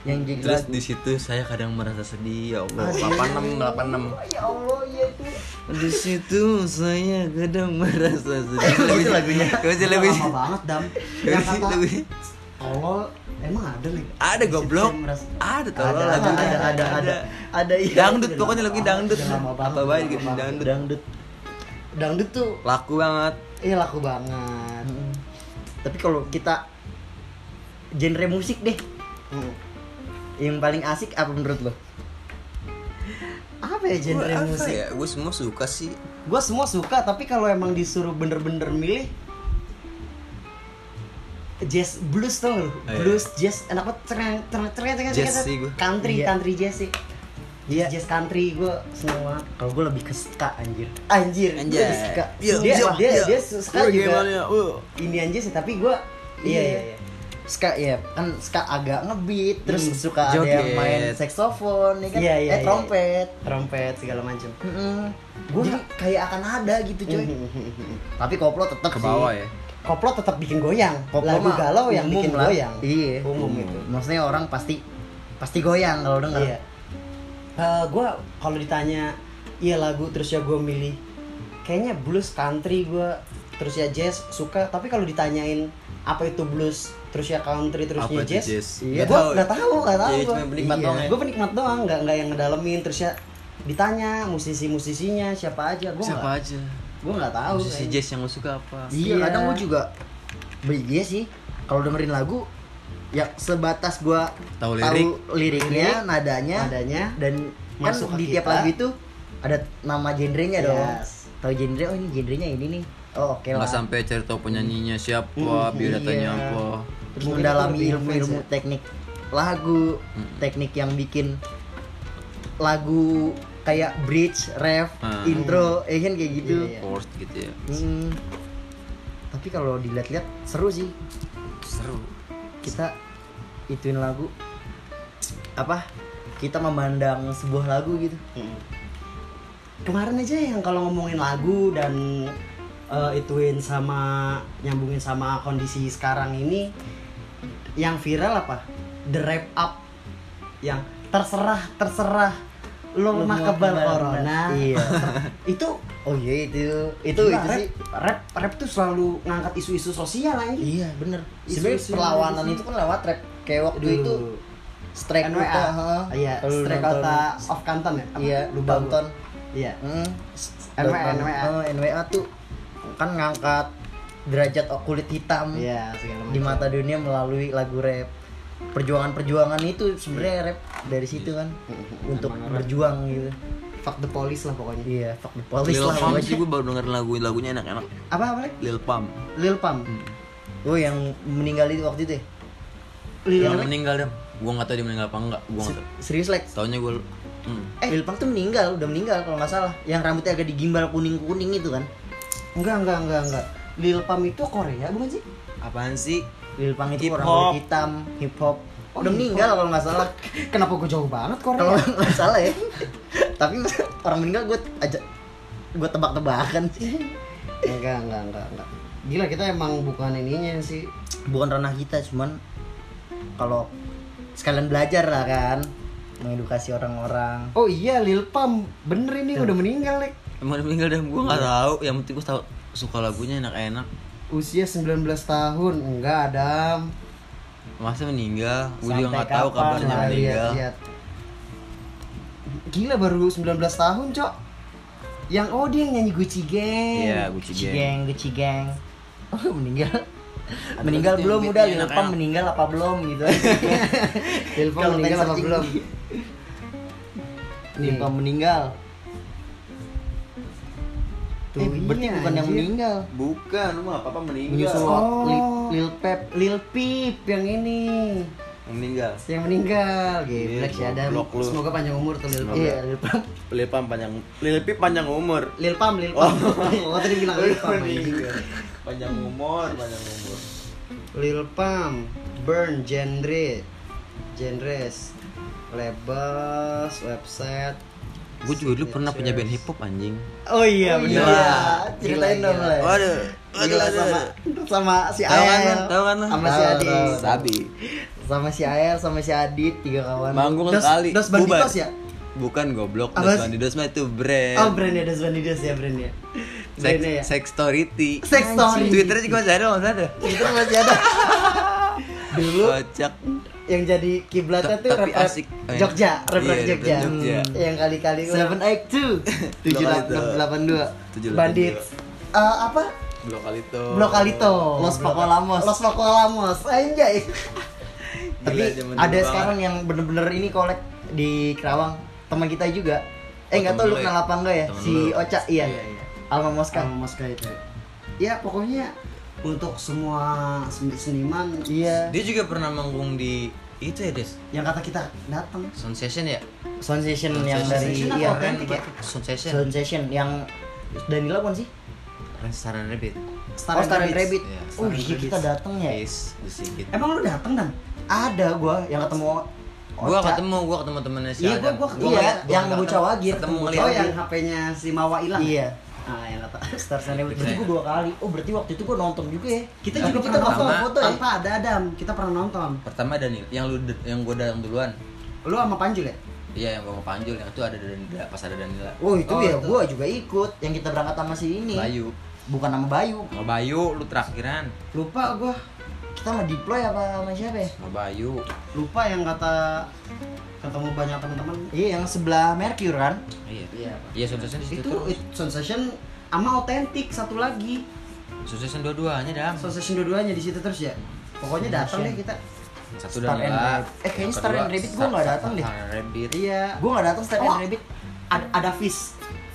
yang jadi Terus lagu. di situ saya kadang merasa sedih ya Allah. 86 ya Allah ya itu 86. Di situ saya kadang merasa sedih. Itu lagunya. Kamu sih Udah lagu. lama banget dam. Yang Kamu kata lagu. tolol emang ada nih. Ada goblok. Ada tuh ada lagu. ada ada ada ada ada iya. Dangdut pokoknya lagunya dangdut. Udah lama banget, Apa baik gitu lama banget. dangdut. dangdut Dangdut tuh Laku banget. Iya laku banget. Mm. tapi kalau kita genre musik deh yang paling asik apa menurut lo Apa ya genre Gua apa musik? Ya, gue semua suka sih. Gue semua suka, tapi kalau emang disuruh bener-bener milih jazz blues tuh lu. iya. blues jazz enak banget tereng tereng tereng tereng Jazz tereng. sih gua. country Iya. country jazz sih Iya. jazz country gue semua kalau gue lebih ke ska anjir anjir gua Anjay. suka Iya, dia iya, dia iya. dia suka Gua juga gimana ya? Uh. ini aja sih tapi gue Iya, iya, iya. ska ya kan ska agak ngebeat terus Hmm, suka ada yang joget. main saksofon ya kan Iya, iya, eh iya. trompet trompet segala macam gue jadi kayak akan ada gitu coy tapi koplo tetap Ke bawah ya. sih koplo tetap bikin goyang koplo lagu mah galau yang umum bikin lah. goyang iya umum itu maksudnya orang pasti pasti goyang kalau denger Iya. Eh, gua kalau ditanya iya lagu terus ya gue milih kayaknya blues country gua terus ya jazz suka tapi kalau ditanyain apa itu blues terus ya country terus ya Apa itu jazz, jazz? Iya, Nggak gue tahu. nggak tahu nggak tahu Iya, gua. cuma penikmat Iya. doang ya. Gua penikmat doang nggak nggak yang ngedalemin terus ya ditanya musisi musisinya siapa aja gue Siapa nggak aja? gue nggak tahu Musisi kayaknya. jazz yang lo suka apa? Iya, Iya. kadang gue juga beli dia sih. Kalau dengerin lagu ya sebatas gua Tahu tahu lirik. Lirik, liriknya, nadanya, nadanya, dan masuk ke kan di tiap kita. lagu itu ada nama genrenya Iya dong Yes. tahu genre oh ini genrenya ini nih oh oke lah nggak sampai cari tahu penyanyinya Hmm, siapa biodatanya Iya. apa terus Mungkin itu mendalami lebih ya. ilmu-ilmu influence teknik lagu teknik yang bikin lagu kayak bridge ref Hmm. intro ya kan kayak gitu Ah. Iya. force gitu ya Hmm. tapi kalau dilihat-lihat seru sih seru kita ituin lagu apa kita memandang sebuah lagu gitu Mm. Kemarin aja yang kalau ngomongin lagu dan eh, ituin sama nyambungin sama kondisi sekarang ini yang viral apa? The wrap up yang terserah terserah lo Lu mah mau kebal kebal Oh, corona. iya itu oh iya itu itu gila, itu rap, sih rap rap tuh selalu ngangkat isu-isu sosial anjing. iya bener Isu-isu sebenarnya yang perlawanan ada di itu kan lewat rap kayak waktu Aduh. itu strike NWA. Uta, ha? Iya, Kalau lu Straight nonton- Outta of Compton ya? Apa? iya lu Lupa gua. tonton Iya. Mm. NWA. Tonton. Oh, NWA tuh kan ngangkat derajat kulit hitam Iya, segala di mata dunia melalui lagu rap perjuangan-perjuangan itu sebenarnya rap dari situ kan Mm-mm. untuk Emang rap. berjuang gitu fuck the police lah pokoknya. iya fuck the police Lil lah Pump pokoknya. sih gue baru dengerin lagu lagunya enak-enak Apa apa? Lek? Lil Pump Lil Pump. oh yang meninggal itu waktu itu ya? Lil yang Pump. meninggal deh gue nggak tahu dia meninggal apa enggak gue nggak tahu serius Lex taunya gue hmm. eh Lil Pump tuh meninggal udah meninggal kalau nggak salah yang rambutnya agak digimbal kuning kuning itu kan Enggak, enggak, enggak, enggak. Lil Pump itu Korea bukan sih? apaan sih Lil Pump itu Hip orang hop. kulit hitam hip hop Oh, udah hip meninggal kalau nggak salah Kenapa gue jauh banget Korea? kalau nggak salah ya tapi orang meninggal gue aja gue tebak-tebakan sih enggak, enggak, enggak, enggak. Gila kita emang bukan ininya sih. bukan ranah kita cuman kalau sekalian belajar lah kan mengedukasi orang-orang Oh iya Lil Pump bener ini udah meninggal Lek. emang dia meninggal deh gue Iya. nggak tahu yang penting gue tahu suka lagunya enak-enak Usia 19 tahun. Enggak, Adam. masa meninggal gue juga Sampai nggak tahu kapan kabarnya Nah, meninggal lihat, lihat. Gila baru 19 tahun, Cok. Yang oh dia yang nyanyi Gucci Gang. iya Gucci Gang cigeng guci geng oh, meninggal Ada meninggal lagi tuh belum yang udah beatnya Lil enak-enak. Pump meninggal apa belum gitu Lil Pump Kalau meninggal pengen apa searching. belum? Lil Pump meninggal tuh Eh, berarti iya, bukan yang anjir. meninggal bukan lu mah apa meninggal menyusul Oh. Lil, Lil Pep Lil Peep yang ini. meninggal yang meninggal gitu Iya, si Adam goblok lu. semoga panjang umur tuh Lil Pump iya Lil Pump Lil Pam panjang Lil Pip panjang umur Lil Pump Lil Pump oh. tadi bilang Lil Pump iya. anjing. panjang umur panjang umur Lil Pump Burn Genre Genres Labels Website gue juga dulu pernah punya band hip hop anjing Oh iya Oh bener iya, Gila, ceritain gila. dong lah waduh Gila sama sama si Tahu kan, Ael tahu kan? sama si Tahu, Adi tahu. sabi sama si Ael sama si Adit tiga kawan manggung Dos- sekali Dos Banditos ya? bukan goblok Apa sih? Dos Banditos mah itu Oh brand brandnya Dos Bandidos ya brandnya Sex, Brandnya ya Sextority Sextority. Twitternya juga masih ada nggak ada itu masih ada Dulu kocak yang jadi kiblatnya Ta- tuh tapi rap-rap asik. Oh, iya. Jogja Rap-rap Iya, Jogja rap-rap Jogja. Hmm, Yang kali-kali Seven Egg Two tujuh Blok Alito. delapan dua Tujuh delapan bandit Eh, apa blok kali itu blokalito Los Pocolamos. los pocolamos anjay tapi Gila, zaman ada dulu sekarang yang bener-bener ini kolek di Kerawang teman kita juga Oh, eh temen nggak tahu lu lu ya? kenal apa enggak ya Temen si lu. Oca iya, Alma Mosca sama Moska itu ya pokoknya untuk semua sen- seniman iya dia juga pernah manggung di itu ya Des yang kata kita datang Sound Session ya Sound Session yang Sound dari Session apa Session iya Authentic ya? Sound Session Sound Session yang Danila kan sih Restoran Rabbit Oh Star and Rabbit Iya, Star oh and iya Rabbits. kita datang ya Is sedikit emang lu datang dan ada gua yang ketemu gua Oca. ketemu gua ketemu temennya si Iya, Adam gua- gua ketemu. ngeliat, Iya, yang ngeliat. bocah wagir. ketemu Bocah ngeliat oh yang HP-nya si Mawa hilang iya ah yang kata Star and Rabbit berarti gua dua kali oh berarti waktu itu gua nonton juga ya kita Tapi juga kita pernah pertama- nonton foto tanpa ada Adam kita pernah nonton pertama Daniel yang lu yang gua datang duluan lu sama Panjul ya iya yang gua mau panjul yang itu ada Danila pas ada Danila Oh itu Oh, iya. ya, itu. gua juga ikut yang kita berangkat sama si ini. Bayu Bukan sama Bayu. sama Bayu lu terakhiran lupa gua Kita sama Deploy apa sama siapa ya? sama Bayu lupa yang kata ketemu banyak teman-teman Iya yang sebelah Mercure kan? iya Iya, Pak. iya Sound Session di situ itu terus it- sound session sama autentik satu lagi Sound Session dua-duanya dam sound session dua-duanya di situ terus ya pokoknya datang deh Session. kita satu Star and Danila Rabbit. Eh, kayaknya yang Star kedua and Rabbit gua nggak datang deh. Star and Rabbit iya Gua nggak datang Step Oh. and Rabbit. ada, ada fish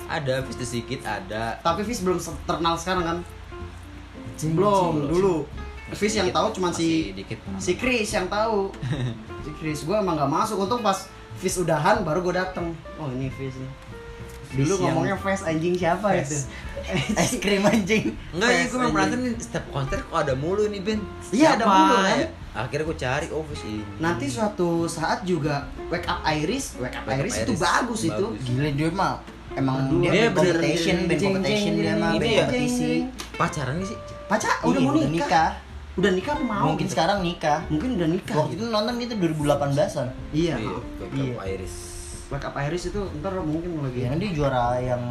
ada Fis the Sikit ada Tapi Fis belum se- terkenal sekarang kan? Belum, dulu. Fis yang tahu cuman si Masih dikit si Chris yang tahu. Si Chris gue emang nggak masuk. Untung pas Fis udahan baru gue dateng. Oh ini Fis nih. Fis Dulu yang- ngomongnya Fis Eh. anjing siapa itu? Fis. es krim anjing Enggak ya, gue Fes, memang anjing. perhatiin nih, setiap konser kok ada mulu nih Ben Iya, ada Siapa mulu, kan? ya? Akhirnya gue cari, oh Fis ini Nah. Nanti suatu saat juga Wake Up Iris, Wake Up Wake Up Iris itu Iris. bagus itu. Bagus. gila dia mah emang Aduh, dia dia, bener- competition band jeng, competition jeng, dia mah jeng, band jeng, kompetisi jeng. Pacaran gak sih? Paca Iya, udah mau nikah. udah nikah Udah nikah apa mau? mungkin gitu? sekarang nikah Mungkin udah nikah. gitu. waktu itu nonton itu 2018an Iya. Iya, Iya. Iris Wake Up Iris itu ntar mungkin lagi. ya dia juara yang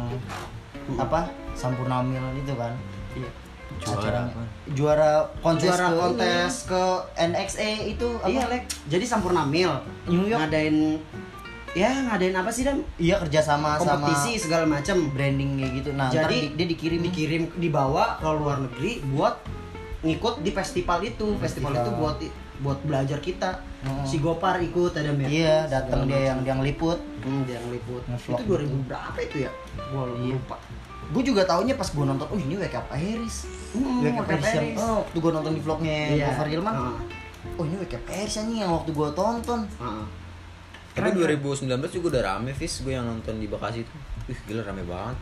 Hmm. apa Sampurna Mil itu kan Iya. Juara Acaranya. apa? juara kontes Juara ke- kontes ke NXA itu apa Iya, Lek. Jadi Sampurna Mil New York ngadain ya ngadain apa sih dan iya kerjasama sama kompetisi segala macam. branding kayak gitu nah ntar Jadi Hmm. di- dia dikirim dikirim dibawa ke luar negeri buat ngikut di festival itu. Festival, Hmm. Festival. itu buat buat belajar kita. Mm. Si Gopar ikut ada Mer. iya datang Segala dia yang macam. yang liput Hmm, dia yang liput. Ngevlog Itu 2000 berapa itu ya? Gua lupa. gue juga taunya pas gue nonton oh ini Wake Up Iris Hmm, Wake Up Wake Up Iris yang Iris. oh waktu gue nonton di vlognya Iya. Gofar Hilman Heeh, oh ini Wake Up Iris anjing yang waktu gue tonton heeh. Tapi 2019 juga udah rame Fis, gue yang nonton di Bekasi itu Ih gila rame banget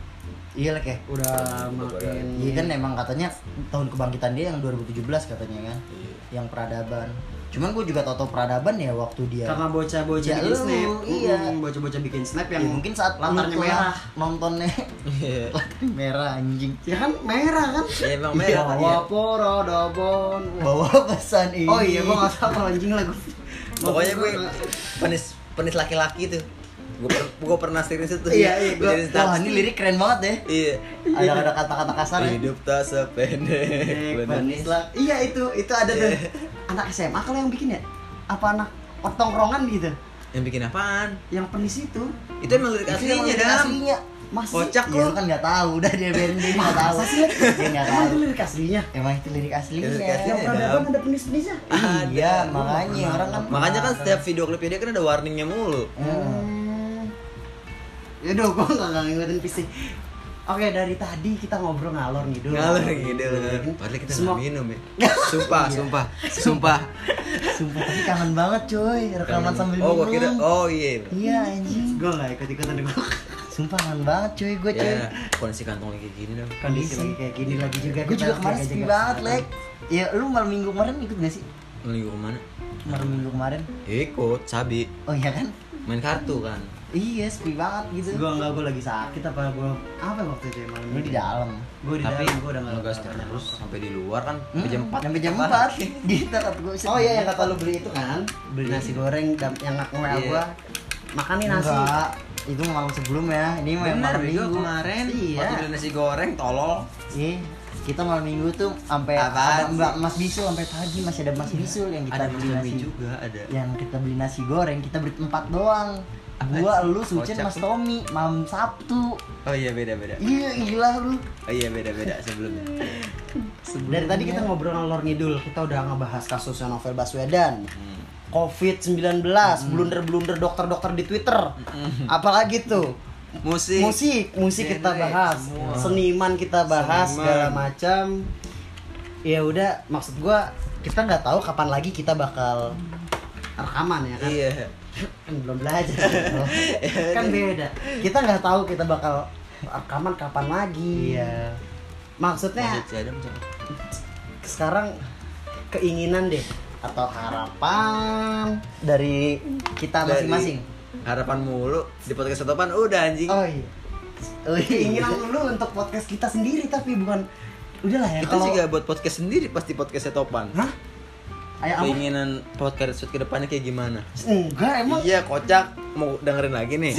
iya lah kayak Udah makin Lebaran. Iya kan emang katanya tahun kebangkitan dia yang 2017 katanya kan Iya. yang peradaban cuman gue juga tau tau peradaban ya waktu dia karena bocah-bocah Ya, bikin lu, snap iya. Mm, bocah-bocah bikin snap yang Ya, mungkin saat lantarnya nonton- merah nontonnya Iya lantarnya merah anjing ya kan merah kan Ya, emang Iya, merah kan ya bawa porodobon bawa pesan ini oh iya gua nggak tahu kalau anjing lagu Pokoknya gue penis penis laki-laki tuh Gue per, gue pernah serius itu Iya, iya, Gue gua- jadi wah status. ini lirik keren banget deh Iya ada ada kata-kata kasar ya Iya. Hidup tak sependek benar. Banis lah iya itu itu ada tuh anak SMA kalau yang bikin ya apa anak pertongkrongan gitu Yang bikin apaan? yang penis itu Itu emang lirik Itu Iya, yang aslinya lirik Dam. aslinya masih Kocak Iya, lu lu kan nggak tahu udah dia biarin dia nggak tahu masa sih dia nggak emang tahu itu lirik aslinya emang itu lirik aslinya kan? Lirik aslinya. yang Iya, peradaban Dam. ada penis-penisnya iya makanya orang kan Makanya kan setiap video klipnya dia kan ada warningnya mulu. Hmm. Ya udah, gua nggak nggak ngikutin PC. Oke, dari tadi kita ngobrol ngalor ngidul. Ngalur gitu. Padahal kita nggak Semua- minum ya. Sumpah, sumpah, sumpah. Sumpah tapi kangen banget coy rekaman sambil oh, gua minum. kira oh iya. Iya anjing. Gue nggak ikut-ikutan gua. Sumpah kangen banget coy gue coy. Ya, kondisi kantong kayak gini Iya, dong. Kondisi lagi kayak gini lagi juga. Gue kita juga kemarin jaga-jaga sepi banget, kesehatan. Lek. Ya lu malam minggu kemarin ikut gak sih? Minggu kemana? Malam minggu kemarin. Ikut, cabi. Oh iya kan? Main kartu kan. Iya, sepi banget gitu. Gue nggak, gue lagi sakit apa gue apa waktu itu ya malam Lu di dalam. Gue di Tapi dalam, gue udah nggak ngegas banyak terus sampai di luar kan sampai jam 4. Hmm? Sampai jam Gitu, 4. Di tempat gue Oh iya yang kata lu beli itu kan, beli nasi goreng dan yang ngaku WA Iya. gue. Makan nih nasi. Enggak. Itu malam sebelum ya. Ini mau yang Bener, malam bego minggu. kemarin Iya. waktu beli nasi goreng tolol. Iya. Kita malam minggu tuh sampai ada Apaan Mbak Mas Bisul sampai pagi masih ada Mas Bisul yang kita Ada beli mie nasi. juga ada. Ya. yang kita beli nasi goreng kita berempat doang Apa gua sih? lu sucin Kocak mas lu. Tommy malam Sabtu Oh iya beda-beda. iya gila lu Oh iya beda-beda Iya. sebelumnya. Dari tadi kita ngobrol ngalor ngidul, kita udah ngebahas kasusnya Novel Baswedan. Hmm. COVID-19, blunder-blunder dokter-dokter di Twitter. Apalagi tuh Musik. musik, musik kita Genre, bahas, semua. seniman kita bahas Seniman. segala macam. Ya udah, maksud gua kita nggak tahu kapan lagi kita bakal rekaman ya kan. Iya. Kan belum belajar. kan beda. Kita nggak tahu kita bakal rekaman kapan lagi. iya Maksudnya Masih ada macam. Nah, sekarang keinginan deh atau harapan dari kita Dari- masing-masing Harapan mulu di podcast setopan udah anjing. oh iya Oh, iya. keinginan lu untuk podcast kita sendiri tapi bukan udahlah ya Kita kalau juga buat podcast sendiri pasti podcast setopan. hah ayo apa Keinginan podcast episode kedepannya kayak gimana? enggak emang Iya. Iya kocak mau dengerin lagi nih.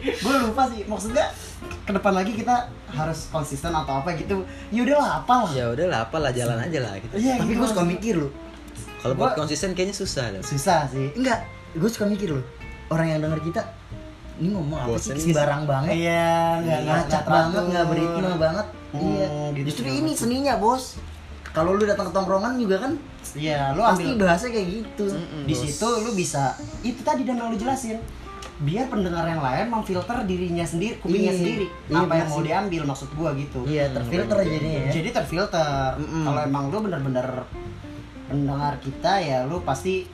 gue lupa sih maksudnya ke depan lagi kita harus konsisten atau apa gitu ya udahlah apalah ya udahlah apalah jalan aja lah gitu. iya tapi gitu gua suka maksudnya. mikir lu Kalau buat Gua- konsisten kayaknya susah dah. susah sih enggak gua suka mikir lu orang yang denger kita ini ngomong apa sih Bosen sih. sembarang banget iya nggak ngacak banget nggak beritma banget Hmm, iya gitu justru sih. ini seninya bos kalau lu datang ke tongkrongan juga kan iya lu pasti ambil bahasa kayak gitu di situ lu bisa itu tadi dan yang lu jelasin biar pendengar yang lain memfilter dirinya sendiri, kupingnya Iya, sendiri iya, apa yang bener mau sih. diambil maksud gua gitu. Iya, terfilter jadinya ya. Jadi terfilter. Mm-mm. Kalau emang lu bener-bener pendengar kita ya lu pasti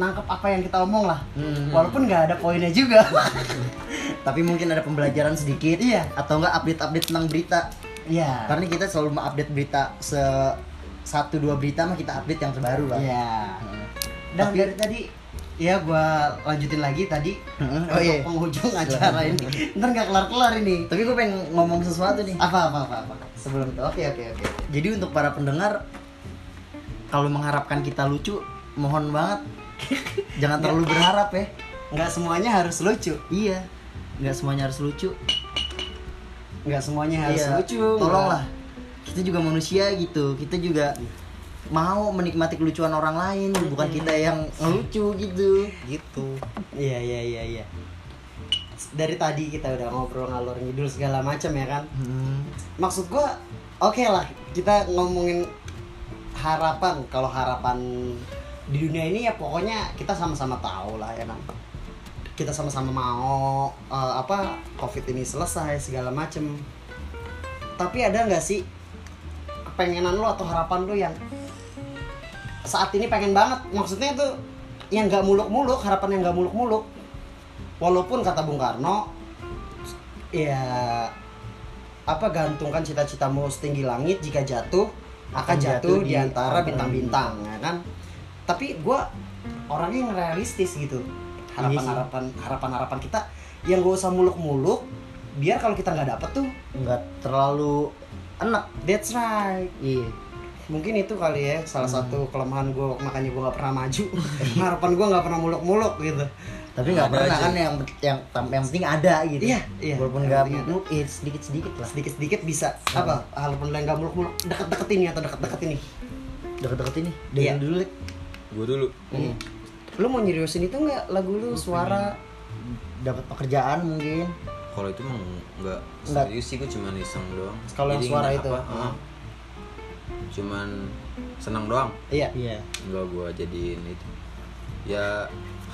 nangkep apa yang kita omong lah. Mm. Walaupun nggak ada poinnya juga. Tapi mungkin ada pembelajaran sedikit. Iya. Atau enggak update-update tentang berita. Iya. Karena kita selalu update berita se satu dua berita mah kita update yang terbaru lah. Iya. Dan Tapi- dari tadi ya gua lanjutin lagi tadi Mm-mm. untuk Oh, iya. penghujung acara ini. Ntar nggak kelar-kelar ini. Tapi gue pengen ngomong sesuatu nih. Apa apa apa apa. sebelum itu oke oke oke jadi untuk para pendengar kalau mengharapkan kita lucu mohon banget jangan terlalu berharap ya Nggak semuanya harus lucu. iya nggak semuanya harus lucu Nggak semuanya harus Iya, lucu. gitu. tolonglah kita juga manusia gitu kita juga mau menikmati kelucuan orang lain bukan kita yang ngelucu gitu gitu iya iya iya iya dari tadi kita udah ngobrol ngalor ngidul segala macam ya kan Hmm, maksud gua oke lah kita ngomongin harapan kalau harapan di dunia ini ya pokoknya kita sama-sama tahu lah ya kan kita sama-sama mau eh, apa covid ini selesai segala macem tapi ada nggak sih kepengenan lo atau harapan lo yang saat ini pengen banget maksudnya itu yang nggak muluk-muluk harapan yang nggak muluk-muluk walaupun kata Bung Karno ya apa gantungkan cita-citamu setinggi langit jika jatuh akan jatuh, di antara bintang-bintang ya kan tapi gue orangnya yang realistis gitu Iya sih. harapan-harapan harapan-harapan kita yang gak usah muluk-muluk biar kalau kita nggak dapet tuh nggak terlalu enak that's right iya Hmm. mungkin itu kali ya salah satu kelemahan gue makanya gue nggak pernah maju harapan gue nggak pernah muluk-muluk gitu tapi nggak Ada pernah aja. kan yang yang yang penting ada gitu Iya, iya. walaupun Yang nggak penting ada. eh, sedikit sedikit lah sedikit-sedikit bisa Hmm. apa harapan yang nggak muluk-muluk deket-deket ini atau deket-deket ini deket-deket ini Iya. dari dulu Lik. Gue dulu. Hmm. Hmm. lu mau nyeriusin itu nggak lagu lu suara dapat pekerjaan mungkin Kalau itu mah nggak Nggak. serius sih, gue cuman iseng doang. Kalau yang Jadi suara nggak itu? apa, ah. Cuman senang doang. iya iya Enggak gue jadiin itu. Ya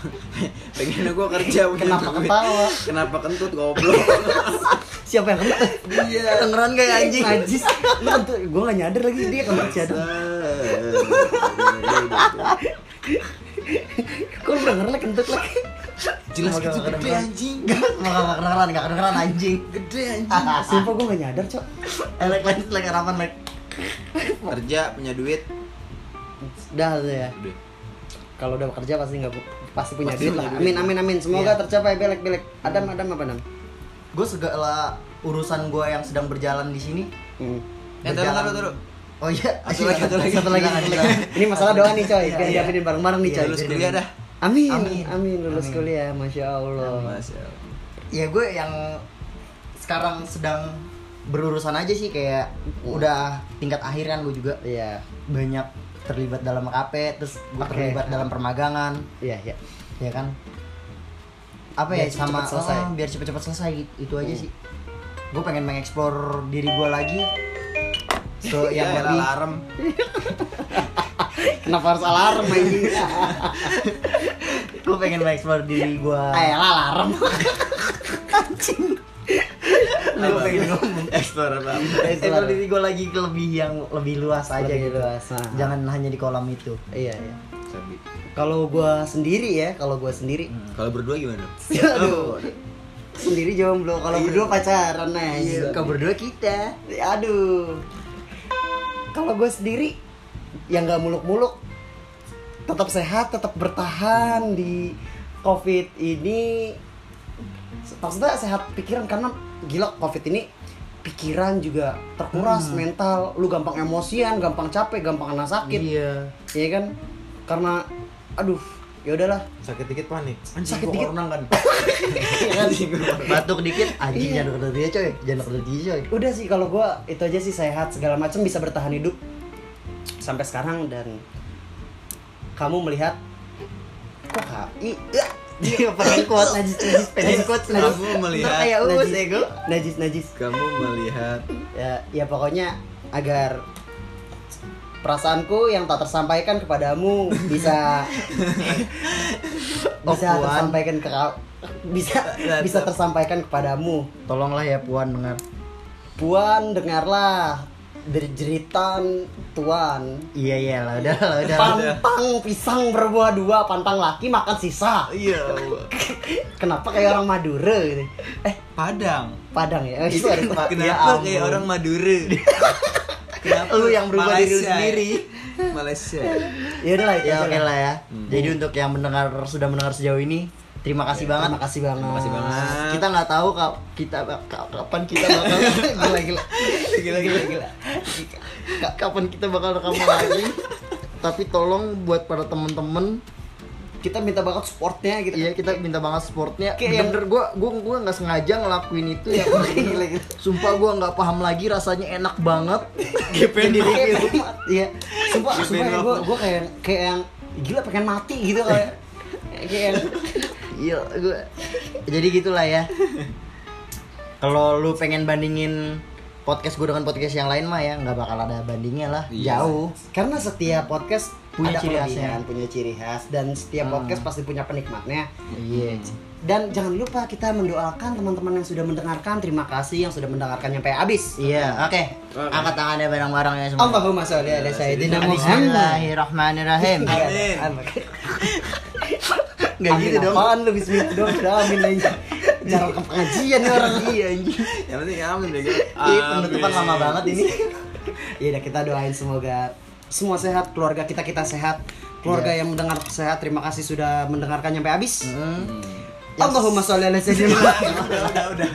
pengen gue kerja punya Kenapa duit. ketawa? Kenapa kentut goblok? siapa yang kentut Iya. kedengeran gak ya anjing najis lu tuh gue nggak nyadar lagi dia kentut sih ada kok lu denger lah kentut lagi Jelas gitu gede anjing. nggak nggak kedengeran nggak kedengeran anjing Gede anjing. sumpah gue nggak nyadar cok elek lanjut lek harapan lek Kerja punya duit. dah tuh ya Udah. kalau udah kerja pasti nggak bu- pasti punya Pasti duit lah Iya. punya amin duit. amin amin semoga tercapai belek-belek adam adam apa adam gue segala urusan gue yang sedang berjalan di sini Hmm. Eh, taruh, berjalan- taruh, taruh. oh iya Satu lagi, satu lagi. satu lagi Silakan, Ini masalah doa nih coy, biar Iya. diaminin bareng-bareng nih Iya, coy. lulus Biar kuliah diaminin. dah. Amin, amin, Amin. lulus Amin. kuliah, masya Allah. Masya Allah. ya gue yang sekarang sedang berurusan aja sih kayak udah tingkat akhir kan gue juga Iya, banyak terlibat dalam KP terus gue Oke. terlibat dalam permagangan iya, iya. ya kan apa Biar ya sama cepet-cepet selesai. ah, biar cepet-cepet selesai gitu- itu aja Hmm. sih gue pengen mengeksplor diri gue lagi Iya, so yang Ya, lebih alarm. Kenapa harus alarm anjing? gue pengen mengeksplor diri gue Ayolah Eh, alarm. gue pengen ngomong Explore Iya. apa? mengeksplor diri gue lagi ke lebih yang lebih luas aja Lebih gitu luas, nah. jangan hanya di kolam itu iya, iya. Sabi. Kalau gua sendiri ya, kalau gua sendiri, Kalau berdua gimana? aduh, sendiri jomblo. Kalau berdua pacaran anjing. Ke berdua kita Aduh. Kalau gue sendiri yang nggak muluk-muluk tetap sehat, tetap bertahan di Covid ini. Maksudnya sehat pikiran karena gila Covid ini pikiran juga terkuras Hmm. mental, lu gampang emosian, gampang capek, gampang kena sakit. iya Iya kan? Karena aduh, ya udahlah. Sakit dikit panik. Sakit gua dikit. Orang kan. Iya kan? batuk dikit Iya. anjing jangan deket dia coy jangan deket dia coy udah sih kalau gua itu aja sih sehat segala macam bisa bertahan hidup sampai sekarang dan kamu melihat kok KI Eh, dia pengen kuat najis najis Eh, pengen kuat najis Kamu melihat- ya, Ntar kayak us Najis. ego najis najis Kamu melihat ya, ya pokoknya agar Perasaanku yang tak tersampaikan kepadamu bisa bisa Puan. tersampaikan ke kau- bisa bisa tersampaikan kepadamu. Tolonglah ya Puan dengar. Puan dengarlah derjeritan tuan. Iya iya lah udah lah udah. Pantang pisang berbuah dua, pantang laki makan sisa. Iya. Kenapa kayak orang Madura gitu? Eh, Padang. Padang ya? Itu ada Kenapa kayak orang Madura? Kenapa Lu yang berubah diri Malaysia lu ya? sendiri. Malaysia. Ya udah lah, itu Ya aja lah. oke Hmm. lah ya. Jadi untuk yang mendengar sudah mendengar sejauh ini, terima kasih banget. Ya, Terima kasih banget. Terima kasih banget. Kita nggak tahu kap- kita ka- kapan kita bakal gila gila gila gila gila. Ka- Kapan kita bakal rekam lagi? Tapi tolong buat para temen-temen Kita minta banget supportnya gitu. Iya kita minta banget supportnya. Kayak yang- Bener gue gue gue nggak sengaja ngelakuin itu ya. Gila, gitu. gila. Sumpah gue nggak paham lagi rasanya enak banget. Jadi kayak pengen- Iya. Sumpah, Gila, sumpah gila. gue gue kayak kayak yang gila pengen mati gitu kayak. Kayak yang Iya gue. Jadi gitulah ya. Kalau lu pengen bandingin podcast gue dengan podcast yang lain mah ya nggak bakal ada bandingnya lah. Iya. Jauh. karena setiap podcast Punya ada ciri khasnya. kelebihan, punya ciri khas dan setiap podcast pasti punya penikmatnya. Iya. Dan jangan lupa kita mendoakan teman-teman yang sudah mendengarkan. Terima kasih yang sudah mendengarkan sampai habis. Iya. Oke. Angkat tangannya bareng-bareng ya semua. Allahumma sholli ala sayyidina Muhammad. Bismillahirrahmanirrahim. Amin. Nggak gitu dong. Apaan lu bismillah dong, udah amin aja. Jarang ke pengajian nih orang Iya anjing. Yang penting ya amin deh. Ih, penutupan lama banget ini. Iya, kita doain semoga semua sehat, keluarga kita kita sehat, keluarga Iya. yang mendengar sehat. Terima kasih sudah mendengarkan sampai habis. Hmm. Allahumma sholli ala sayyidina Muhammad. Udah, udah.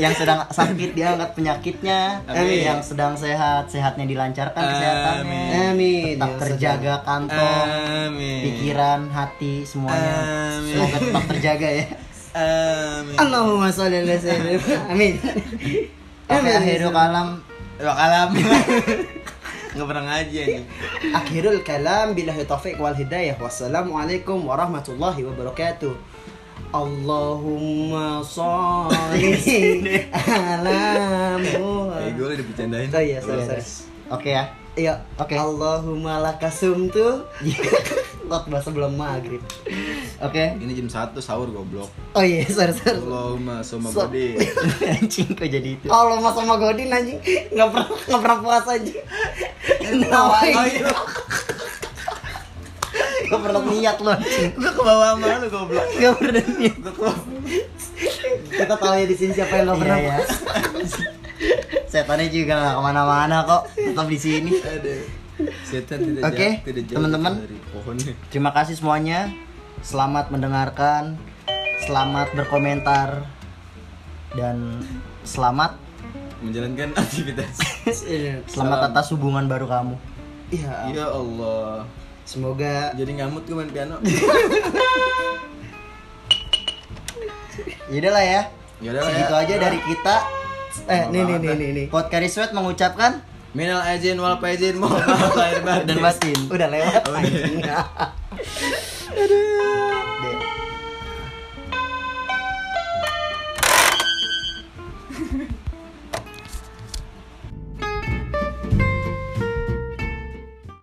yang sedang sakit diangkat penyakitnya Amin. yang sedang sehat sehatnya dilancarkan kesehatannya Amin. tetap Ya, terjaga kantong Amin. pikiran hati semuanya Amin. semoga tetap terjaga ya Amin. Allahumma sholli ala sayyidina Muhammad. Amin. Oke, akhirul kalam Dua kalam. Nggak pernah ngaji nih. Akhirul kalam billahi taufiq wal hidayah. Wassalamualaikum warahmatullahi wabarakatuh. Allahumma sholli ala Eh, Muhammad. gue udah bercandain. Oh iya, sorry, sorry. oke ya Iya, Oke. Allahumma lakasum tuh. Lot bahasa belum maghrib. oke Ini jam 1 sahur goblok. Oh iya, sorry sorry. Allahumma summa So- bodi. anjing kok jadi itu Allahumma sama Godin anjing nggak pernah nggak pernah puasa anjing. Nah, Oh, iya. Kenapa? iya. gak pernah niat lo anjing Lu ke bawah malu goblok. gak pernah niat Kita tahu ya di sini siapa yang nggak iya pernah. ya setannya juga gak kemana-mana kok tetap di sini Ada. Setan tidak Oke, jauh- tidak jauh teman-teman. dari pohonnya. Terima kasih semuanya. Selamat mendengarkan, selamat berkomentar, dan selamat Menjalankan aktivitas. Iya. Salam. selamat atas hubungan baru kamu. Iya. ya Allah. Semoga Jadi ngamut gue main piano. Yaudah lah ya. Yaudah lah ya. Segitu aja dari kita. eh Lama nih nih banget nih dah. nih nih. Podcast Riswet mengucapkan Minal aizin wal faizin mohon maaf lahir batin. dan batin. Udah lewat. Oh, iya. anjing. Aduh.